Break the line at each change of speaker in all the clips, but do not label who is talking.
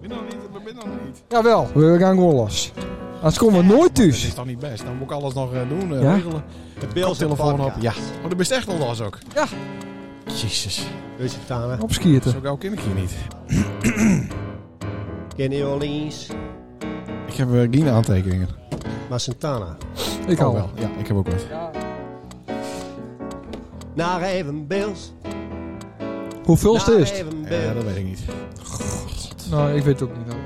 ben nog niet, we zijn nog niet.
Jawel, we gaan gewoon los.
Ah,
Anders komen we nooit
Dat
thuis.
is toch niet best? Dan moet ik alles nog eh, doen, eh,
Ja?
regelen.
De
telefoon op. Ja. Oh, dat is echt al los ook.
Ja.
Jezus.
Dus het samen.
Opschieten.
Zo gauw ken ik je niet.
Kenny Orleans.
Ik heb eh, geen aantekeningen.
Maar Santana.
Ik
Oh,
al wel.
Ja, ik heb ook wat.
Naar even Bills.
Hoeveelste
Naar
is het?
even
Ja, dat
Bills.
weet ik niet.
Nou, ik weet het ook niet. hoor.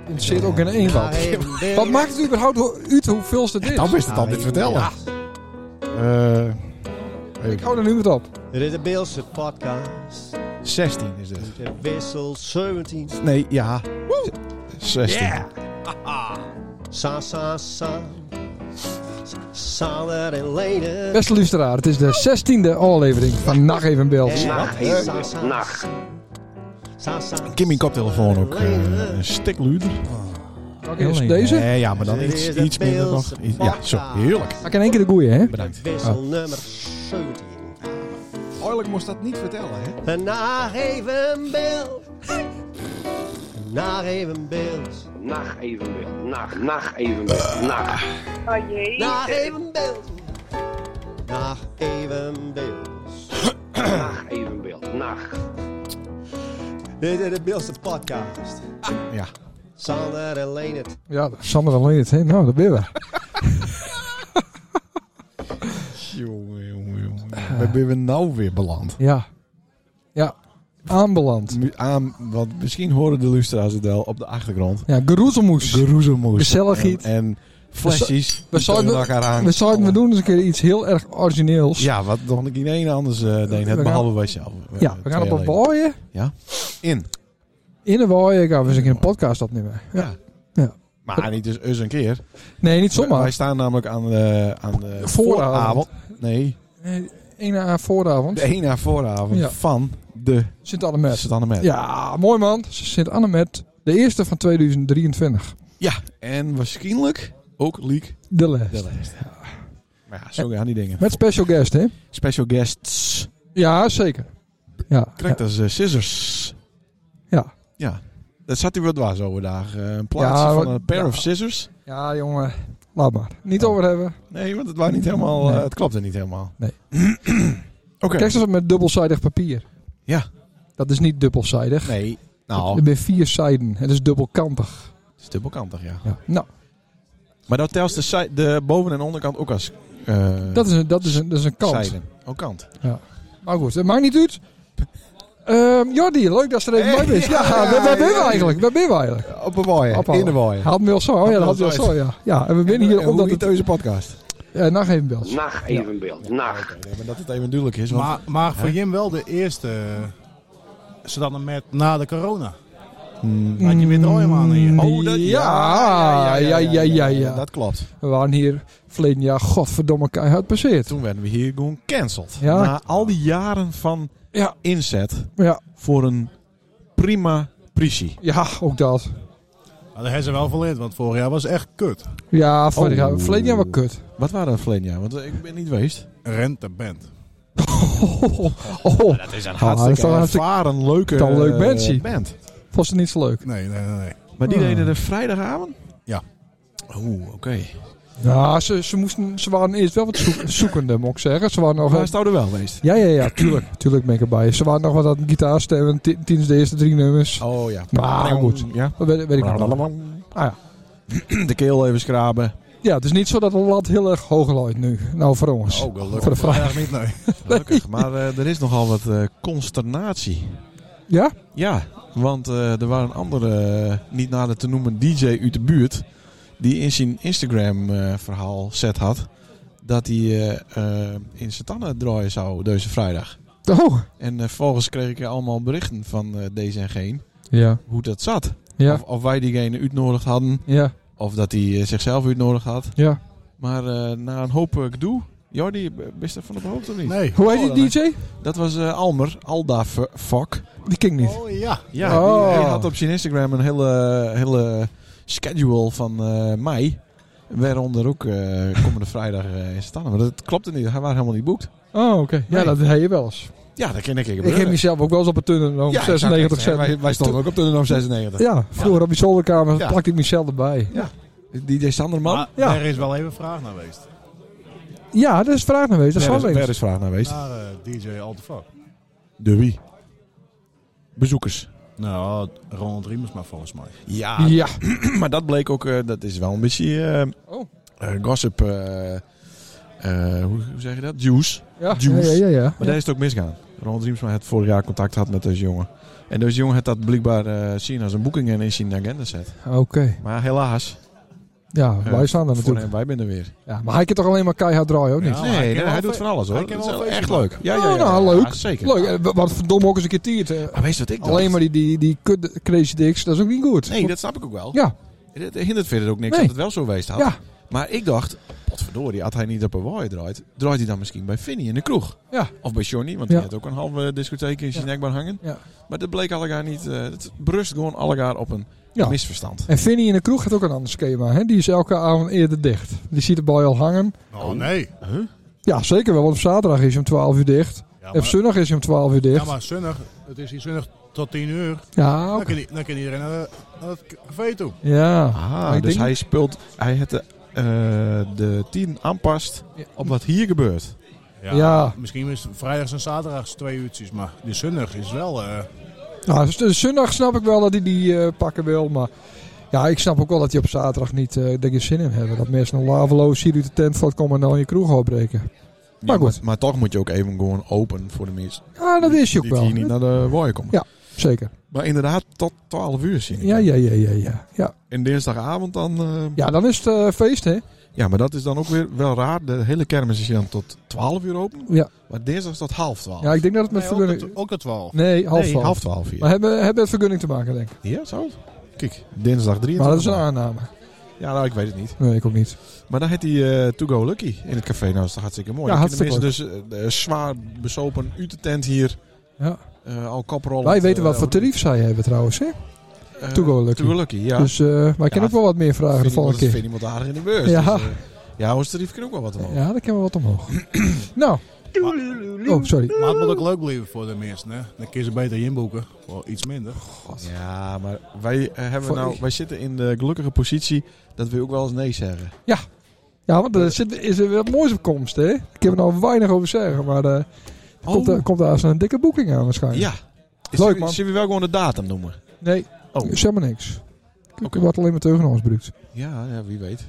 Interesseert ook in één
Naar
wat.
even Bills.
Wat maakt het überhaupt hoe- uit hoeveelste dit
Dan
is?
wist het al dit vertellen. Eh, weet ik.
Ik hou er nu wat op.
Dit is de Beelse podcast.
16 is dit.
De wissel 17.
Nee, ja. 16.
Sa, sa, sa. Sander en Lene.
Beste luisteraar, het is de 16e aflevering van Nacht Even Beeld.
Nacht. Sa, sa.
Ik heb mijn koptelefoon ook eh, een stuk luider.
Oké, dus deze?
Nee, ja, maar dan iets, iets minder nog. Iets- Ja, zo. Heerlijk.
Ik in één keer de goeie, hè?
Bedankt. Oh.
Wissel nummer 17.
Oorlijk moest dat niet vertellen, hè?
Naar even beeld. Naar even beeld.
Nacht evenbeeld. Nacht, nacht evenbeeld. Nacht.
Oh jee.
Naar even beeld. Naar even beeld.
Nacht evenbeeld. Nacht.
Dit is de Beeldse podcast.
Ja.
Sander en Leendert.
Ja, Sander alleen het, hè? Nou, dat ben je weer.
Jongen, jongen, jongen.
Ah.
Waar ben we nou weer beland?
Ja. Ja. Aanbeland.
Mu- Aan, want misschien horen de luisteraars het wel op de achtergrond.
Ja, geroezemoes.
Geroezemoes.
Gezelligheid.
En, en flesjes.
We zouden,
die tegen elkaar aan.
we zouden we doen eens een keer iets heel erg origineels.
Ja, wat nog niet één anders eh deed.
gaan-
Het behalve wij zelf. eh,
Ja, we gaan op een waaien.
In.
In een waaien gaan we eens een keer een podcast opnemen. Ja.
Ja.
Ja.
Maar niet dus eens een keer.
Nee, niet
Wij- Wij
zomaar.
staan namelijk aan de, aan de
Vooravond.
Nee,
Nee, Eén Eh, na vooravond.
de ene na vooravond
Ja.
van de
Sint-Annemet.
Sint-Annemet.
Ja, mooi man. Sint-Annemet. De eerste van 2023.
ja, en waarschijnlijk ook Leak
De les.
de lijst. Maar ja, zo gaan die dingen.
Met special guest, hè?
Special guests.
Ja, zeker. Ja.
Krijgt als eh, scissors.
Ja.
Ja. Dat zat hij wel dwaas over daar. Eh, Een plaats
Ja,
van
wat-
een pair
ja.
of scissors.
Ja, jongen. Laat maar. Niet over hebben.
Nee, want het, waren niet helemaal,
Nee.
eh, het klopte niet helemaal.
Nee.
Oké.
Kijk eens met dubbelzijdig papier.
Ja.
Dat is niet dubbelzijdig.
Nee.
Er
Nou,
zijn vier zijden. Het is dubbelkantig.
het is dubbelkantig, ja.
Ja. Nou,
Maar dat telt de, zij- de boven- en onderkant ook als eh
dat is een, dat is een, dat is een kant.
zijden. Ook kant.
Maar goed, dat maakt niet uit. Ehm Jordi, leuk dat ze er even
Hey,
bij bent. Ja,
ja,
waar- waar ben je
ja.
eigenlijk? Waar ben je eigenlijk?
Op een waaien.
Ophalen.
In de waaien.
Had me wel zo, oh ja, dat had
Had
me
me
wel
wel eh,
zo, ja. Ja, en we winnen hier omdat het...
deze podcast.
eh nacht even belt.
Nacht evenbeeld. Nacht.
maar dat het even duidelijk is. Want
Maar, maar voor Jim wel de eerste. eh, Zodat hem met na de corona. Had je weer de ooiemanen hier.
Oh, dat-
Mm. ja, ja, ja, ja, ja.
Dat klopt.
We waren hier verleden jaar godverdomme keihard passeerd.
Toen werden we hier gewoon gecanceld.
Ja.
Na al die jaren van
Ja.
inzet
Ja,
voor een prima prisie.
ja, ook dat.
Maar dat hebben ze wel verleerd, want vorig jaar was echt kut.
Ja, vorig jaar-
Oh.
verleden jaar wel kut.
Wat waren dat verleden jaar? Want eh, ik ben niet geweest.
Renteband.
Oh, oh,
Dat is
oh.
een
dat is
hartstikke
wel een
ervaren, leuke
Dat is een leuk
eh,
bandje.
band.
Vond ze niet zo leuk.
Nee, nee, nee. nee.
Maar die
Ah.
deden de vrijdagavond?
Ja.
Oeh, oké.
Ja, ze, ze, moesten, ze waren eerst wel wat zoek- zoekende, moet ik zeggen. Ze waren nog...
Maar is het er wel geweest?
Ja, ja, ja, tuurlijk. tuurlijk ben ik erbij. Ze waren nog wat aan het gitaarstemmen. ti- Tiens de eerste drie nummers.
Oh ja.
Maar goed.
Ja.
Dat weet, weet ik nog wel. Ah, ja.
De keel even schraben.
ja, het is niet zo dat de lat heel erg hoog looit nu. Nou, voor ons.
Oh, gelukkig.
voor de vraag.
Echt niet, nee.
Gelukkig, maar eh, er is nogal wat eh, consternatie.
Ja?
Ja, want eh, er waren andere, eh, niet nader te noemen, DJ uit de buurt. Die in zijn Instagram-verhaal set had. dat hij eh, eh, in Santana draaien zou deze vrijdag.
Oh.
En eh, volgens kreeg ik allemaal berichten van eh, deze en geen.
Ja.
hoe dat zat.
Ja.
Of, of wij diegene uitnodigd hadden.
Ja.
of dat hij eh, zichzelf uitnodigd had.
Ja.
Maar eh, na een hoop eh, gedoe. Jordi, b- wist dat van op hoofd of niet?
nee.
Hoe
Oh,
heet die
dan-
DJ?
Dat was eh, Almer, Alda F- Fok.
Die king niet.
Oh ja.
Ja,
Oh.
die- hij had op zijn Instagram een hele, hele schedule van eh, mei. Waaronder ook eh, komende vrijdag eh, in Stannen. Maar dat klopte niet. Hij was helemaal niet boekt.
Oh, oké. Ja,
Nee.
dat heet je wel eens.
Ja, dat ken ik.
Ik heb mezelf ook wel eens op het tunnel
Ja,
om 96
exact. Ja,
cent.
Wij, wij stonden ook op de nummer 96.
Ja, vroeger op die zolderkamer
Ja.
plakte ik mezelf erbij.
DJ Sanderman.
Maar
Ah, Ja.
er is wel even vraag naar geweest.
Ja, dat is vraag naar geweest. Dat
Daar
zal
is,
wel
daar
eens.
is vraag naar geweest.
Naar eh, DJ All The Fuck.
De wie? Bezoekers.
Nou, Ronald Riemers maar volgens mij.
Ja,
Ja,
maar dat bleek ook, eh, dat is wel een beetje eh,
Oh.
eh, gossip, eh, eh, hoe, hoe zeg je dat? Juice.
ja, ja,
Juice.
ja. ja, ja.
Maar daar is het ook misgaan. Ronald Riemsma had vorig jaar contact gehad met deze jongen. En deze jongen had dat blijkbaar eh, zien als een boeking en in zijn agenda zet.
Oké.
Maar helaas,
Ja,
Eh,
wij staan daar
voor
natuurlijk.
hem, wij zijn er weer.
Ja, maar hij kan toch alleen maar keihard draaien, ook niet?
Ja,
nee,
hij
nee,
kan
hij,
wel
doet
fe-
van alles hoor.
hij kan
Dat
wel
is echt
feestjes
leuk. Ja, ja, ja,
Oh,
ja,
nou,
ja,
leuk.
zeker.
Leuk, eh, wa- wat verdomme ook eens een keer tiert. eh.
Maar weet je wat ik dacht?
Alleen maar die, die, die kut Crazy Dicks, dat is ook niet goed.
Nee, dat snap ik ook wel.
Ja,
Het hindert verder ook niks
Nee.
Eh, dat het wel zo geweest had.
ja,
Maar ik dacht, potverdorie, had hij niet op Hawaii draait, draait hij dan misschien bij Finny in de kroeg.
Ja.
Of bij Johnny, want
Ja.
die had ook een halve discotheek in zijn nekbaar hangen.
Ja.
Maar dat bleek allegaar niet. eh, het berust gewoon allegaar op een
ja.
misverstand.
En Vinnie in de kroeg gaat ook een ander schema. Hè? Die is elke avond eerder dicht. Die ziet de bal al hangen.
Oh nee.
Ja, zeker wel, want op zaterdag is hij om 12 uur dicht.
Ja,
En op
maar,
zondag is hij om 12 uur
ja,
dicht.
maar zonnig. Het is hier zonnig tot 10 uur.
Ja,
Dan,
oké.
kan, i- dan kan iedereen naar, de- naar het café toe.
ja.
Ah,
Maar
dus
ik denk-
hij speelt, hij het de, eh, de tien aanpast
Ja.
op wat hier gebeurt.
Ja.
Misschien is vrijdags en zaterdags twee uurtjes, maar de zondag is wel... eh,
Nou, dus de zondag snap ik wel dat hij die eh, pakken wil, maar... Ja, ik snap ook wel dat hij op zaterdag niet eh dat je zin in hebben. Dat mensen een laveloos hier uit de tent valt komen en dan je kroeg opbreken. Maar
Ja,
goed.
maar, maar toch moet je ook even gewoon open voor de mensen
Ja, dat is je ook
die hier
wel.
niet naar de Hawaii komen.
Ja. Zeker.
Maar inderdaad, tot 12 uur zien. ik.
Ja, ja, ja, ja, ja. Ja,
En dinsdagavond dan... eh,
ja dan is het eh, feest, hè?
Ja, maar dat is dan ook weer wel raar. De hele kermis is dan tot 12 uur open.
Ja.
Maar dinsdag is tot half 12.
Ja, ik denk dat het met
nee, ook,
vergunning...
dat, ook dat wel.
Nee, half
nee,
twaalf.
half 12 hier.
Maar hebben, hebben het vergunning te maken, denk ik.
Ja, zo. Kijk, dinsdag 3.
Maar dat is een aanname.
Ja, nou, ik weet het niet.
Nee, ik ook niet.
Maar dan had hij eh, To Go Lucky in het café. Nou, dat is toch hartstikke mooi.
Ja,
Dan kunnen
hartstikke
mensen dus eh, eh, zwaar besopen uit de tent hier.
Ja.
eh, al eh, kaprollen.
Wij weten wat voor tarief zij hebben trouwens, hè? To Go Lucky.
Eh, ja.
Dus eh, wij kunnen ook wel wat meer vragen de
Vind iemand-
volgende
dat
keer.
vindt iemand aardig in de beurs.
Ja.
Dus, eh, ja, ons tarief kan ook wel wat omhoog.
Ja, dan kunnen we wat omhoog. nou. Oh, sorry.
Maar het moet ook leuk blijven voor de mensen. Hè? Dan kun je ze beter inboeken. Voor iets minder.
Ja, maar wij, eh, hebben
Voor-
nou, wij zitten in de gelukkige positie dat we ook wel eens nee zeggen.
Ja, want er zit, is er wat moois op komst, hè? Ik heb er nog weinig over zeggen, maar eh,
Oh,
komt, er, komt daar eens een dikke boeking aan waarschijnlijk.
ja. Is
Leuk,
Leuk,
man.
man. Zullen we wel gewoon de datum noemen?
Nee,
Oh.
zeg maar niks. Ik
Oké.
wat alleen maar tegen ons gebruikt.
Ja, ja wie weet.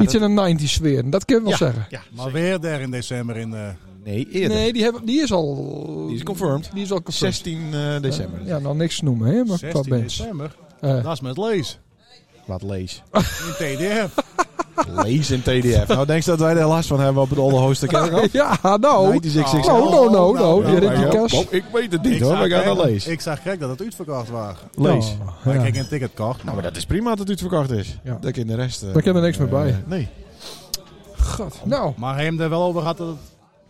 Iets in een 90 sfeer, dat kunnen we wel zeggen.
Ja,
Maar weer daar in december in... eh,
nee, eerder.
Nee, die, hebben, die is al...
Die is confirmed.
Die is al confirmed.
16 eh, december.
Ja, nou niks noemen, hè? Maar qua
16
bands.
december.
Eh,
Dat is met lees.
Wat lees.
In TDF.
lees in TDF. Nou, denk je dat wij er last van hebben op het Olderhoogste Kerkhof?
ja, nou.
96.
Nou,
Oh,
nou, nou, nou.
Ja,
Je
ja,
rent die
ja.
kast.
Oh, ik weet het niet hoor, we gaan naar lees.
ik zag gek dat het uitverkocht was.
Lees.
Oh,
Maar
ja.
ik heb een ticket kocht.
Nou, maar dat is prima dat het verkocht is.
Ja.
Dat ik in de rest... eh,
Daar kan er niks meer
eh,
bij.
Nee.
God. Nou,
Maar hij heeft er wel over gehad dat het-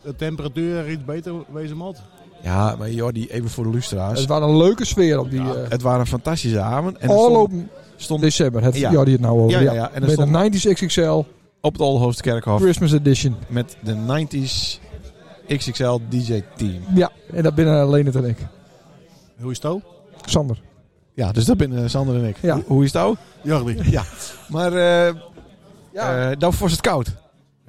de temperatuur er iets beter wezen moet.
Ja, maar joh, die even voor de lustra's.
het was een leuke sfeer op die... eh
Het waren fantastische avond. En er
all
stond,
open
stond
december. Het,
Ja.
ja. die het nou over.
Ja, ja,
Ja,
ja. En er
Met
stond-
een 90s XXL
op het Olderhoogste Kerkhof
Christmas Edition.
met de 90s XXL DJ team.
Ja, en dat binnen alleen het en ik.
Hoe is het ook?
Sander.
Ja, dus dat ben eh, Sander en ik.
Ja.
Hoe, hoe is het nou?
Jordi.
Maar eh
Ja.
eh, dan was het koud.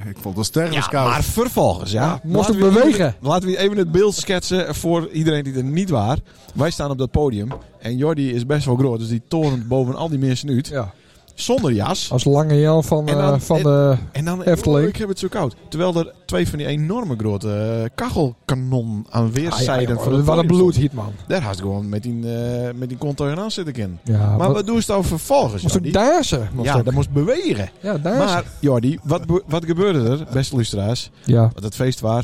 Ik vond het sterrenskoud.
maar vervolgens, ja.
Ja, moest
Laten
het
we even-
bewegen.
laten we even het beeld schetsen voor iedereen die er niet waar. Wij staan op dat podium en Jordi is best wel groot, dus die torent boven al die mensen uit.
Ja.
Zonder jas.
Als lange Jan van,
En
eh,
dan-
van
en-
de...
En dan,
Efteling.
oh, ik heb het zo koud. Terwijl er twee van die enorme grote eh, kachelkanon aan
Ah, ja,
weerszijden
joh,
van het
wat een
podium stonden.
bloedhit, man.
Daar had ik gewoon met die, eh met die kont tegenaan zitten in.
Ja,
Maar
maar
wat doe je dan vervolgens,
moest ook
Jordi?
dansen. Moest
Ja,
ook.
dat moest bewegen.
ja, dansen.
Maar, Jordi, wat, be- wat gebeurde er, beste luisteraars?
ja.
Want het feest was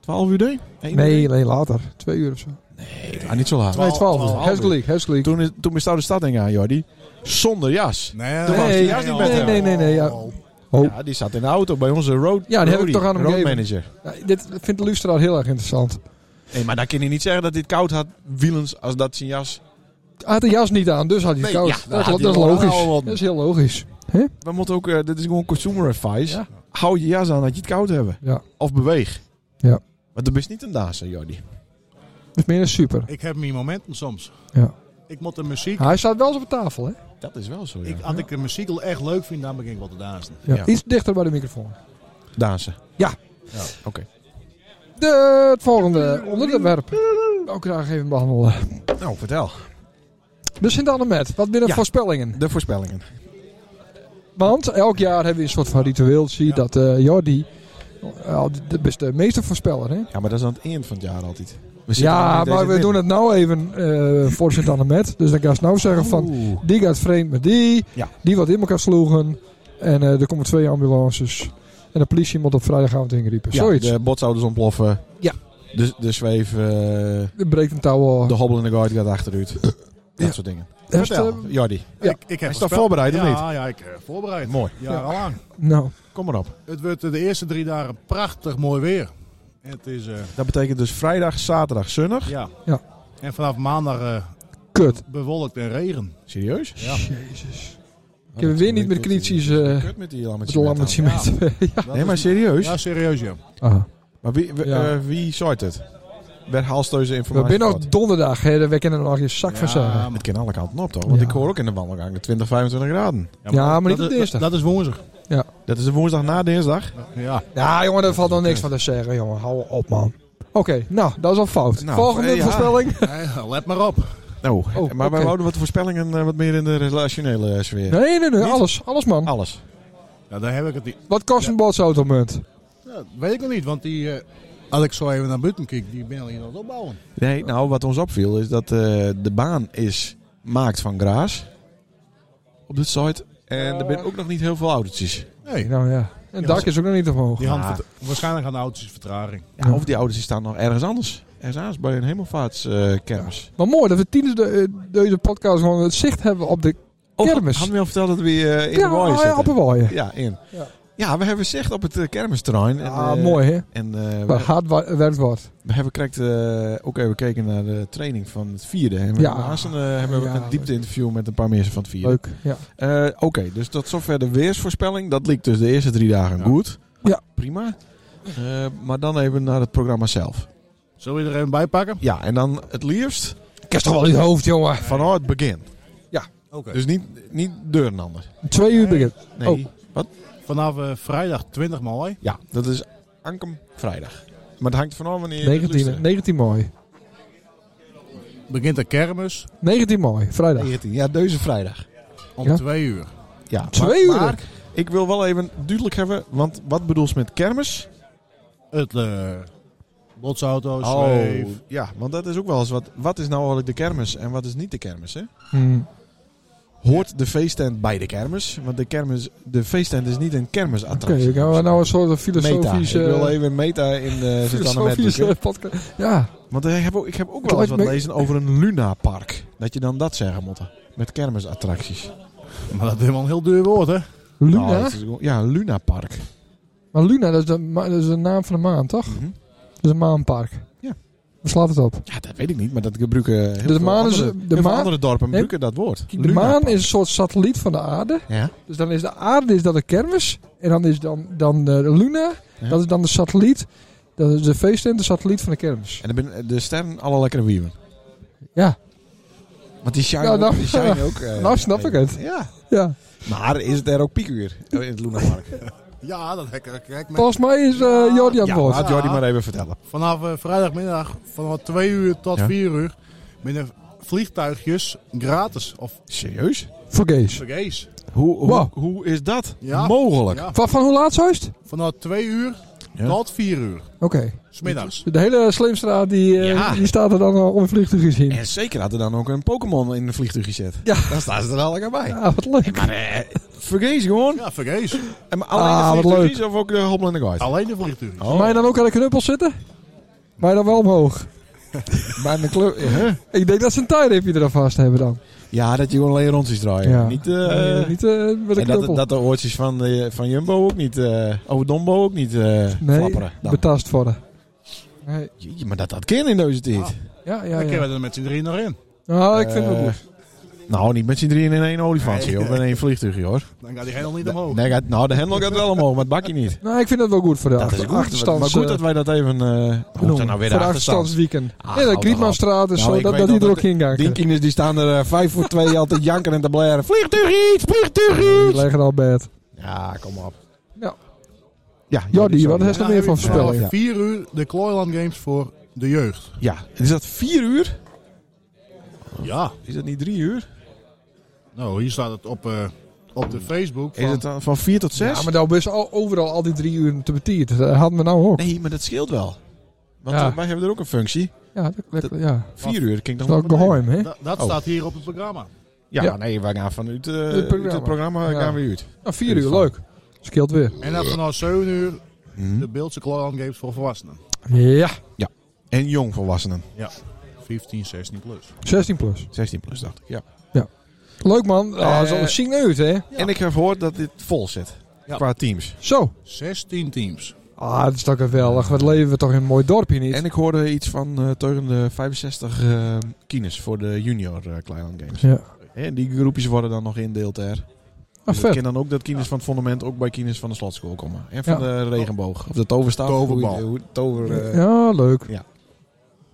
12 uur, denk ik? Eén uur?
Nee, nee, later. Twee uur of zo.
Nee, ah, niet zo laat.
2.12 uur.
twaalf
Hartstikke leuk, hartstikke leuk.
Toen, is- toen bestelde de stad ingaan, Jordi. Zonder jas.
Nee,
Toen was hij Eh, juist niet
nee,
met
nee,
hem.
nee, nee, nee, ja.
Oh.
Ja, die zat in de auto bij onze road,
Ja, die heb ik
roadie,
toch aan hem
road
gegeven.
manager.
Ja, dit vindt de luisteraar heel erg interessant.
Nee, maar dan kan je niet zeggen dat dit koud had, wielens, als dat zijn jas.
Hij had de jas niet aan, dus had hij
Nee,
het koud.
ja, dan
dat,
had
dat is
hij
logisch.
wel wat-
Dat is heel logisch.
We moeten ook, eh, dit is gewoon consumer advice.
Ja.
Hou je jas aan dat je het koud hebt.
Ja.
Of beweeg.
Ja.
Want dan ben je niet een daas, Jordi.
Dus meer een super.
Ik heb mijn momenten soms.
Ja.
Ik moet de muziek.
Hij staat wel eens op tafel, hè?
Dat is wel zo, ja.
Ik, als ik de muziek al echt leuk vind, dan begin ik wel te dansen.
Ja.
Ja.
Iets dichter bij de microfoon.
Dansen.
Ja.
Ja, Oké.
De, het volgende onderwerp. Ook graag even behandelen.
Nou, vertel.
De Sint-Annemet. Wat binnen
Ja.
voorspellingen?
De voorspellingen.
Want elk jaar hebben we een soort van ritueeltje
Ja.
dat eh Jordi, eh, de beste meester voorspeller, hè?
Ja, maar dat is aan het eind van het jaar altijd. We zitten nog
Ja,
niet
maar
eens
we
in
doen het nou even eh, voor Sint-Annemet. Dus dan kan je nou zeggen van,
Oeh.
die gaat vreemd met die,
Ja.
die wat in elkaar sloegen. En eh, er komen twee ambulances. En de politie moet op vrijdagavond ingriepen.
Ja,
Zoiets.
de botsouders ontploffen.
Ja.
De, de zweef, eh,
Er breekt een touw. eh.
de hobbel in de guard gaat achteruit. Dat
Ja.
soort dingen.
Herst,
Vertel, Jordi.
eh, Ja.
Ik, ik heb
Is dat
voorspel-
voorbereid of
ja,
niet?
Ja, ik heb voorbereid.
Mooi.
Jarenlang.
nou,
Kom maar op.
Het wordt eh, de eerste drie dagen prachtig mooi weer. Het is, eh,
Dat betekent dus vrijdag, zaterdag, zonnig.
ja.
Ja.
En vanaf maandag eh,
kut.
bewolkt en regen.
Serieus?
Ja.
Jezus. Ik heb weer niet meer kritisch eh
Kut met die
met
lammetje.
de lammetje
Ja.
met. ja.
Dat
Nee, maar
is-
serieus?
Ja, serieus, ja.
Ah.
Maar wie, we-
Ja.
eh, wie zort het? Wer haalt deze
We
informatie?
zijn nog
uit?
donderdag, hè. We kennen er nog je zak van
Ja,
zeggen.
Het kan alle kanten op toch? Want
Ja.
ik hoor ook in de wandelgang de 20, 25 graden.
Ja, maar niet
dat
op
is-
dinsdag.
Dat is woensdag.
Dat is de woensdag na dinsdag.
Ja.
Ja, Ah, jongen, daar valt nog niks van te zeggen, jongen. Hou op, man. Oké, nou, dat is al fout.
Nou,
Volgende
eh, ja.
voorspelling.
Nee, Let maar op.
Nou,
Oh,
maar
oké.
wij houden wat voorspellingen eh, wat meer in de relationele eh, sfeer.
Nee, nee, nee.
Niet?
Alles, alles, man.
Alles.
Ja, daar heb ik het niet.
Wat kost een botsautomunt?
Ja, dat weet ik nog niet, want die, eh, als ik zo even naar buiten kijk, die ben al hier aan het opbouwen.
Nee, nou, wat ons opviel is dat eh, de baan is maakt van graas op dit site. En er zijn ook nog niet heel veel autootjes.
Nee,
Nou ja. En het dak is ook nog niet omhoog.
die hand
Ja.
vert- waarschijnlijk gaan de auto's vertraging.
Ja.
Ja, of die autootjes staan nog ergens anders. Ergens anders bij een hemelvaartskermis.
Maar mooi dat we tijdens de, eh, deze podcast gewoon het zicht hebben op de
Of
Kermis.
Hadden we al verteld dat we eh, in de
ah,
Waaien
ja, op
zitten?
een waaien.
Ja, in.
Ja.
Ja. we hebben zicht op het eh, kermisterrein. En,
Ah,
eh,
mooi hè.
En eh,
Waar
we,
hard wa- werkt wordt.
we hebben correct, eh, ook even gekeken naar de training van het vierde. En we
Ja.
hebben haast een, eh, hebben we
Ja,
een diepte-interview met een paar mensen van het vierde.
Leuk. Ja.
Eh, Oké, dus tot zover de weersvoorspelling. Dat liep dus de eerste drie dagen
Ja.
goed.
Ja.
Prima. Eh, maar dan even naar het programma zelf.
Zullen we er even bij pakken?
Ja, en dan het liefst
Ik heb toch wel in het hoofd, jongen.
vanuit het begin.
Oké.
Dus niet, niet deur en ander.
Twee uur begint.
Nee.
Oh.
Wat?
Vanaf eh, vrijdag 20 mei.
Ja, dat is Ankem vrijdag. Maar het hangt vanaf wanneer je het
19,
luistert.
19 mooi.
Begint de kermis
19 mooi, vrijdag.
19, ja, deze vrijdag.
om
Ja.
2 uur.
Ja,
Twee
maar-
uur?
Maar ik wil wel even duidelijk hebben, want wat bedoel je met kermis?
Het eh botsauto's, zweef.
Oh, ja, want dat is ook wel eens wat. Wat is nou eigenlijk de kermis en wat is niet de kermis, hè?
Hmm.
Hoort de feesttent bij de kermis? Want de, kermis, de feesttent is niet een
Oké,
kermisattractie.
dan gaan we nou een soort eh,
meta. Ik
filosofische...
wil even meta in eh, de
filosofische
Sint-Anne
eh, podcast. Ja,
Want eh, ik heb, ook, ik heb ook wel eens
lijkt
wat
me-
lezen over een Luna-park. Dat je dan dat zeggen moet. Met kermisattracties.
Maar dat is wel een heel duur woord, hè?
Luna.
Nou, dat is gewoon- ja, een Luna-park.
Maar Luna, dat is, de, ma- dat is de naam van de maan, toch?
Mhm.
Dat is een maanpark.
Ja.
Waar slaat het op?
Ja, dat weet ik niet, maar dat gebruiken heel veel
maan is-
andere,
de
heel veel
maan-
andere dorpen
Nee.
gebruiken dat woord.
De maan is een soort satelliet van de aarde.
Ja,
Dus dan is de aarde is dan de kermis. En dan is dan, dan de Luna.
Ja.
Dat is dan de satelliet. Dat is de feesttent, de satelliet van de kermis.
en dan ben de sterren alle lekkere wieven.
Ja.
Want die shine
Ja, nou-
ook. Die shine ook eh,
nou snap ik het.
Ja.
Ja.
Maar is het er ook piekuur in het Lunapark?
Ja, dat heb ik. Kijk,
Volgens mij is eh Jordi aan het
ja,
woord.
laat Jordi maar even vertellen.
Vanaf eh, vrijdagmiddag, vanaf 2 uur tot
Ja.
4 uur, binnen vliegtuigjes gratis of
Serieus?
Voor gays.
vergees.
Hoe, hoe,
Wow.
hoe is dat
Ja.
mogelijk?
Ja,
Van, van hoe laat zo is het?
vanaf 2 uur
Ja.
tot 4 uur,
Oké.
smiddags.
De hele slimstraat die, eh,
Ja.
die staat er dan al onvliegtuig gezien.
En zeker had er dan ook een Pokémon in een vliegtuig gezet.
Ja.
Dan staan ze er allemaal bij.
Ja, wat leuk.
Maar eh, vergees gewoon.
Ja, vergees.
En maar alleen
Ah,
de
wat
vliegtuigjes of ook de hobbel en de guide?
Alleen de vliegtuigjes.
Oh.
Mij dan ook aan de knuppel zitten? Mij dan wel omhoog.
Maar een club... Huh?
Ik denk dat ze een tijdripje er aan vast hebben dan.
Ja, dat je gewoon alleen rondjes draaien.
Ja.
Niet... eh,
Nee, niet eh, met een
En dat,
knuppel.
dat de oortjes van, de, van Jumbo ook niet, eh over Dombo ook niet eh
nee,
flapperen. Dan.
betast worden. Nee.
Jeetje, maar dat dat kind in deze tijd.
Ah.
Ja, ja,
Dan kunnen
ja.
we er met z'n drieën nog in.
Nou, ik vind het wel
Eh,
goed.
Nou, niet met z'n drieën in één olifantje of in één vliegtuigje hoor.
Dan gaat die helemaal niet omhoog.
Nee, gaat- nou, de hendel gaat wel omhoog, maar het bakje niet.
Nou, ik vind dat wel goed voor de
Dat
achter-
is goed.
achterstands...
Maar goed dat
eh,
wij dat even... eh hoe is dat
benoemen.
nou weer
voor
de achterstand?
de achterstandsweekend.
Ah,
ja,
hou
de
toch
Krietmanstraat en
Nou,
zo,
ik
dat,
weet
dat
nog
die er
dat
ook in gaan. Die
Dinkines die staan er eh, vijf voor twee altijd janken en te blaren. Vliegtuig iets, vliegtuig iets.
liggen al bed.
Ja, ah, kom op.
Ja.
Ja,
Jordi,
sorry.
wat is er meer
Nou,
van voorspelling?
Ja.
Vier uur de Kloiland Games voor de jeugd.
Ja, is dat vier uur?
Ja.
Is dat niet drie uur?
Nou, hier staat het op, eh, op de Facebook.
Is
van-
het dan van vier tot zes?
Ja, maar dan is al, overal al die drie uur te betiert. Dat hadden we nou ook.
Nee, maar dat scheelt wel. Want
Ja.
eh, wij hebben er ook een functie.
Ja, dat, dat- ja.
Vier uur, klinkt dan
Dat is wel geheim, hè?
Da- dat
Oh.
staat hier op het programma.
Ja,
Ja.
nee, wij gaan vanuit eh, uit het programma,
programma. Ja.
gaan we uit.
Nou, vier uur, leuk. Scheelt weer.
En dat vanaf 7 uur
Mhm.
de Beeldse Kloiland Games voor volwassenen.
Ja,
En jongvolwassenen.
15, 16 plus.
16 plus.
16 plus, dacht ik. Ja.
Leuk man. Ah,
Eh,
zo zien uit, hè?
En ik heb gehoord dat dit vol zit.
Ja.
Qua teams.
Zo.
16 teams.
Ah, dat is toch geweldig. Wat leven we toch in een mooi dorpje niet?
En ik hoorde iets van eh tegen de 65 eh kines voor de junior eh Kleinland Games.
ja.
En die groepjes worden dan nog indeeld er.
Ah,
Dus ik ken
vet.
dan ook dat kines van het fondament ook bij kines van de slotschool komen. En van
Ja.
de regenboog. Of de toverstaf.
Toverbal.
Hoe je- hoe- tover, eh,
Ja, leuk.
Nou,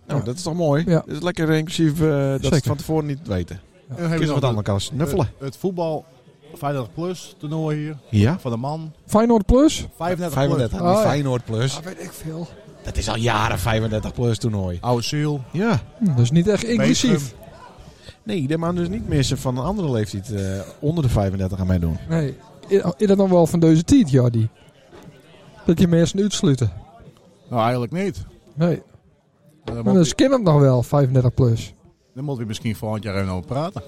Ja.
dat is toch mooi?
Ja.
Dat is lekker inclusief eh, dat ze het
Zeker.
van tevoren niet weten.
En dan Eh,
Kun je
hebben
wat
we
anders
nog
kan snuffelen.
Het, het voetbal 35 plus toernooi hier.
Ja.
Van de man.
Feyenoord plus?
35,
35,
plus.
die
Ah, ja.
Feyenoord plus.
weet ik veel.
Dat is al jaren 35 plus toernooi.
Oude ziel.
Ja.
Hm, dat is niet echt inclusief.
Nee, dat mag dus niet missen van een andere leeftijd eh, onder de 35 aan mij doen.
Nee. Is is dat dan wel van deze tijd, Jordi? Dat je mensen uitsluiten?
Nou, eigenlijk niet.
Nee.
Dan, moet
Maar
je-
dat kennen het nog wel, 35 plus.
dan moeten we misschien volgend jaar even over praten.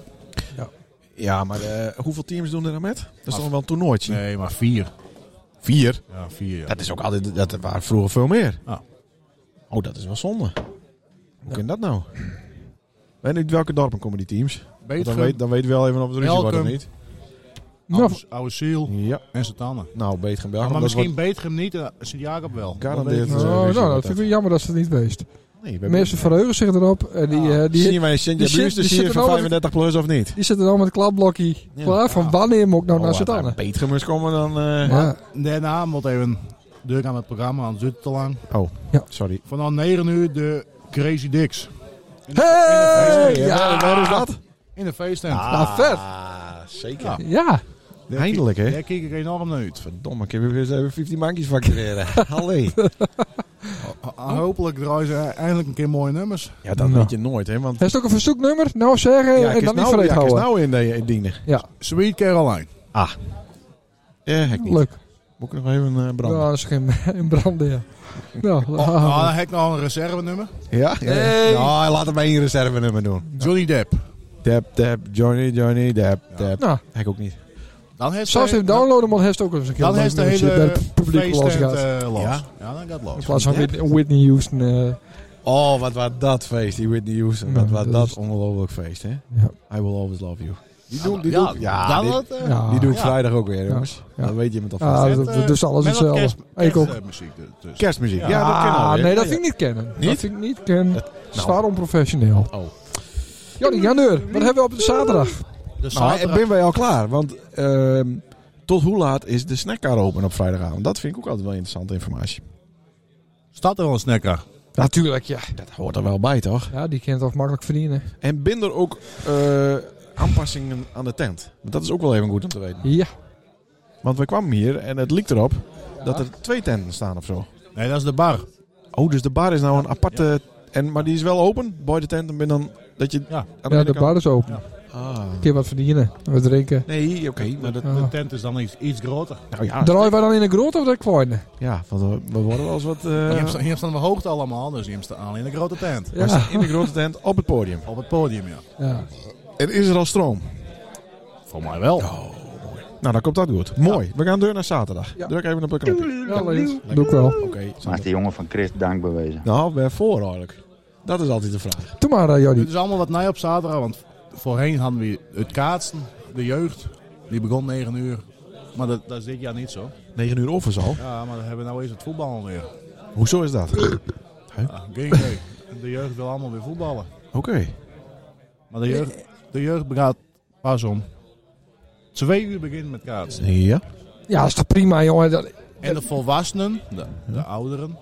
Ja, maar eh, hoeveel teams doen er dan met? Dat is
Af.
toch wel een toernooitje?
Nee, maar vier.
Vier.
Ja, vier. Ja.
Dat is ook altijd, dat waren vroeger veel meer.
Ja.
Oh, dat is wel zonde. Hoe kan dat nou? Weet niet welke dorpen komen die teams? Want Dan
Beetgum,
weet, dan weet wel even of het ruzie wordt of
Elkum.
niet.
Nou,
oude, oude ziel
Ja,
en zijn tanden.
nou, beter gaan
Ja,
Belgium.
maar
dat
misschien
wordt-
Beetgem niet, eh, Sint-Jacob wel.
Garandeerd.
Dat weet ik
eh,
niet.
oh, nou,
weet je wat
dat
dat-
vind ik wel jammer dat ze het niet weest.
Nee, we
De
hebben-
mensen verheugen zich erop. En die, eh, die,
zien wij Sint
die zit-
Jabuus,
die
dus
zit
hier
er
van
nou
35 plus of niet?
die zitten dan met een klapblokje
Ja. Oh,
klaar. Van wanneer moet ik nou naar Sint-Anne?
Peetgemers eh, komen dan... eh,
Ja.
Daarna moet even deur aan het programma, anders duurt het te lang.
Oh,
Ja.
sorry.
Vanaf 9 uur de Crazy Dicks.
Hey! Ja.
waar is dat?
In de feesttent.
Ah, vet.
Zeker.
Ja.
Ja.
Daar
Eindelijk,
ki-
hè?
Daar kijk ik enorm naar uit.
Verdomme, ik heb weer eens even 15 mankies factureren. Allee.
Ho- Hopelijk draaien ze eh, eindelijk een keer mooie nummers.
Ja, dat
Nou.
weet je nooit, hè? Want
Hij is ook een verzoeknummer. Nou zeggen
ja,
en
ik is
dan niet
nou,
vreed
ja, ik is
houden.
nou in de indienen.
Ja,
Sweet Caroline.
Ah. Ja, ik Eh, niet.
leuk.
Moet ik nog even eh branden?
Ja, dat is geen in branden, ja. Nou,
Oh, ah,
ah,
dan heb ik nog een reserve nummer.
Ja? ja.
Nee.
Ja, laat hem één reserve nummer doen.
Johnny Depp.
Dep, dep, Johnny, Johnny, dep, dep.
nou,
Ik ook niet.
Dan heeft
zelfs
ze-
even downloaden, maar hij is ook eens een keer
Dan
leuk
heeft de
nummertje
hele
dat het publiek los
feesttent
gaat.
eh, los.
Ja?
Ja? dan gaat het
In
los.
plaats van Whitney, Whitney Houston. eh,
Oh, wat was dat feest, die Whitney Houston. Wat
Ja,
was
dat
dat
is-
ongelooflijk feest, hè? I will always love you. Die doen, die
Ja,
doen,
dan
die,
wat, eh,
ja.
die doe ik
Ja.
vrijdag ook weer, jongens.
Ja.
Dat weet je met alvast.
Ja,
Met,
dat,
eh,
dat is alles
met wat
hetzelfde.
Kerst,
ik ook.
kerstmuziek er- tussen.
Kerstmuziek. dus. Ja, dat
Ah,
kennen we.
Nee, dat vind ik niet kennen. Dat vind ik niet kennen. Zwaar onprofessioneel.
nou. Oh.
Jordi, ga deur. Wat hebben we op de zaterdag?
De
Nou,
zaterdag-
ik ben wij al klaar. Want ehm, tot hoe laat is de snackcar open op vrijdagavond? Dat vind ik ook altijd wel interessante informatie.
Staat er wel een snacker.
Natuurlijk, ja.
Dat hoort er wel bij, toch?
Ja, die kan toch makkelijk verdienen.
En binder ook eh, aanpassingen aan de tent. Want dat is ook wel even goed om te weten.
Ja.
Want we kwamen hier en het liep erop dat er twee tenten staan of zo.
Nee, dat is de bar.
Oh, dus de bar is nou een aparte... En, maar die is wel open, bij de tent. En ben dan dat je...
Ja.
aan de
Ja, de
binnenkant-
bar is open.
Ja.
Ah.
Een keer wat verdienen. Wat drinken.
Nee, oké. maar dat...
De
Ah.
tent is dan iets, iets groter.
Nou ja,
Draaien we dan in een groot of de kleine?
ja want we, we worden wel eens wat... eh,
Hier, sta- hier staan we hoogte allemaal, dus hier staan aan in een grote tent.
we
Ja.
staan in de grote tent op het podium.
Op het podium, ja.
ja.
En is er al stroom? Oh,
Voor mij wel.
Nou, dan komt dat goed. Mooi. We gaan deur naar zaterdag.
Ja.
Druk even op een knopje.
Ja, Lees. Doe ik wel.
Oké.
Maar is de jongen van Chris dankbewezen.
Nou, waarvoor eigenlijk? Dat is altijd de vraag.
Doe maar, eh,
Dit
Jordi.
is allemaal wat nij op zaterdag, want voorheen hadden we het kaatsen, de jeugd. Die begon 9 uur. Maar dat, dat is dit jaar niet zo.
9 uur of is al.
Ja, maar dan hebben we nou eens het voetballen weer.
Hoezo is dat? Ah, Oké.
Ja, geen idee. De jeugd wil allemaal weer voetballen. Maar de jeugd, de jeugd gaat Pas om. Twee uur begint met kaatsen.
Ja.
Ja, is toch prima, jongen. Dat,
En de volwassenen, de, de ouderen,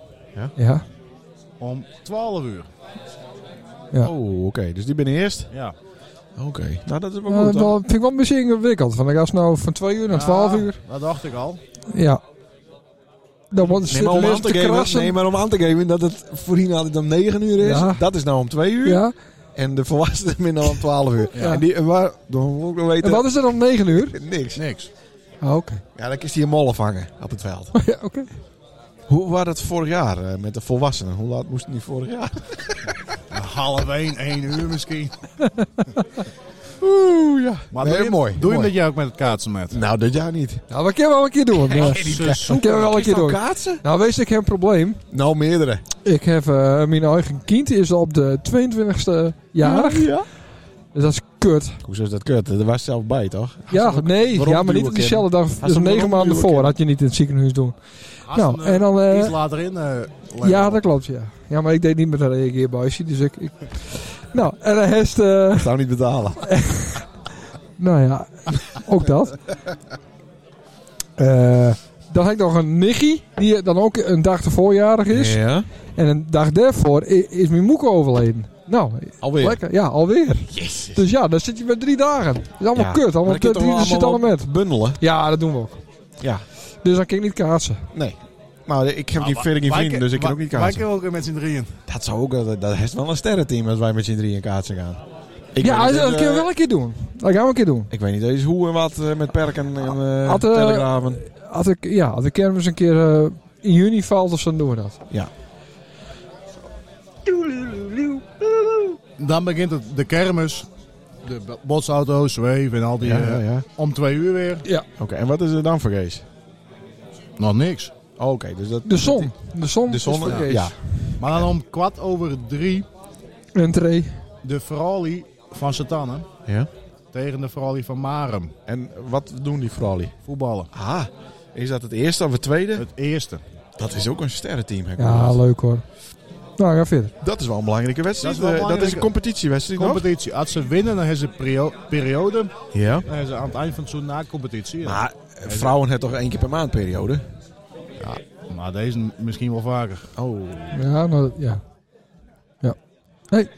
ja.
om 12 uur.
Ja.
Oh, oké. Dus die ben eerst.
Ja.
Oké. Nou, dat is wel
Eh,
goed. hoor.
wel, vind ik wel een beetje ingewikkeld. Van, als nou van 2 uur naar 12
Ah,
uur.
Dat dacht ik al.
Ja. Dan wordt
Nee, maar om aan te geven, nee, maar om aan te geven dat het voorheen altijd om 9 uur is.
Ja.
Dat is nou om 2 uur.
Ja.
En de volwassenen minder dan om 12 uur.
Ja.
En die, en waar, dan moet ik nog weten.
En wat is er om 9 uur?
Niks.
Niks.
Ah, oké.
Ja, dan is hij een mollen vangen op het veld.
Ja, oké.
Hoe was dat vorig jaar eh, met de volwassenen? Hoe laat moesten die vorig jaar?
Half één, één uur misschien.
Nou,
Oeh, ja.
Maar
Nee,
doe je,
mooi,
Doe je
mooi.
dat jij ook met het kaatsen met?
Nou, dit jaar niet.
Nou, we kunnen wel een keer doen. eh.
Seizoen.
we kunnen wel een keer doen.
kaatsen?
Nou, wees ik heb een probleem.
Nou, meerdere.
Ik heb eh, mijn eigen kind is op de 22e jarig.
Ja.
Dus dat is kut.
Hoezo is dat kut? Er was zelf bij, toch?
Ja, nee,
waarom
ja, maar niet
duwen,
op diezelfde dag. Dus
hem
negen
waarom
maanden
duwen,
voor
Kim?
had je niet in het ziekenhuis doen.
Als
Nou,
een, eh,
en dan, eh,
iets later in. eh, leggen.
Ja, dat klopt, ja. Ja, maar ik deed niet met een reageerbuisje, dus ik... ik- Nou, en de rest... eh,
Dat zou niet betalen.
nou ja, ook dat. Eh, dan heb ik nog een nichtje, die dan ook een dag ervoor jarig is.
Ja.
En een dag daarvoor i- is mijn moeke overleden. Nou,
Alweer.
lekker. Ja, alweer. Dus ja, dan zit je met drie dagen. Dat is allemaal
Ja.
kut.
Maar
Allemaal
dat kun je
kut.
toch wel
Die zit allemaal
allemaal
met.
Bundelen?
Ja, dat doen we ook.
Ja.
Dus dan kan ik niet kaatsen.
Nee. Maar ik heb
Nou,
geen
Ah,
verder geen
wij-
vrienden, dus ik kan
wij-
ook niet
Wij
kaatsen.
kunnen ook weer met z'n drieën.
Dat zou ook, dat, dat is wel een sterrenteam als wij met z'n drieën kaatsen gaan. Ik
ja,
weet
dat,
niet, eh,
kunnen we wel een keer doen. Dat gaan we een keer doen.
Ik weet niet eens hoe en wat eh, met perken en eh
Had, eh,
telegraven.
Als ik, ja, als de kermis een keer eh, in juni valt of zo, dan doen we dat.
Dan begint het, de kermis. De b- botsauto's, zweef en al die...
Ja,
eh,
ja, ja.
Om twee uur weer.
Oké, en wat is er dan voor race?
Nog niks.
Oké, dus dat...
De zon. De zon.
De
is
zon,
voor
ja.
Kees.
ja.
Maar dan om kwart over drie
Entree.
de Frali van Satannen
Ja.
tegen de Frali van Marum.
En wat doen die Frawley?
Voetballen.
Ah, is dat het eerste of het tweede?
Het eerste.
Dat is ook een sterrenteam. heb ik
Ja,
gehoord.
leuk hoor. Nou, ga verder.
dat is wel een belangrijke wedstrijd.
Dat is wel een
Eh, Dat is
belangrijke-
een competitiewedstrijd nog?
Competitie. Als ze winnen, dan hebben ze perio- periode.
Ja.
Dan hebben ze aan het eind van het seizoen na competitie.
Maar eh, vrouwen hebben toch één keer per maand periode?
Maar deze misschien wel vaker.
Oh.
Ja, nou, ja.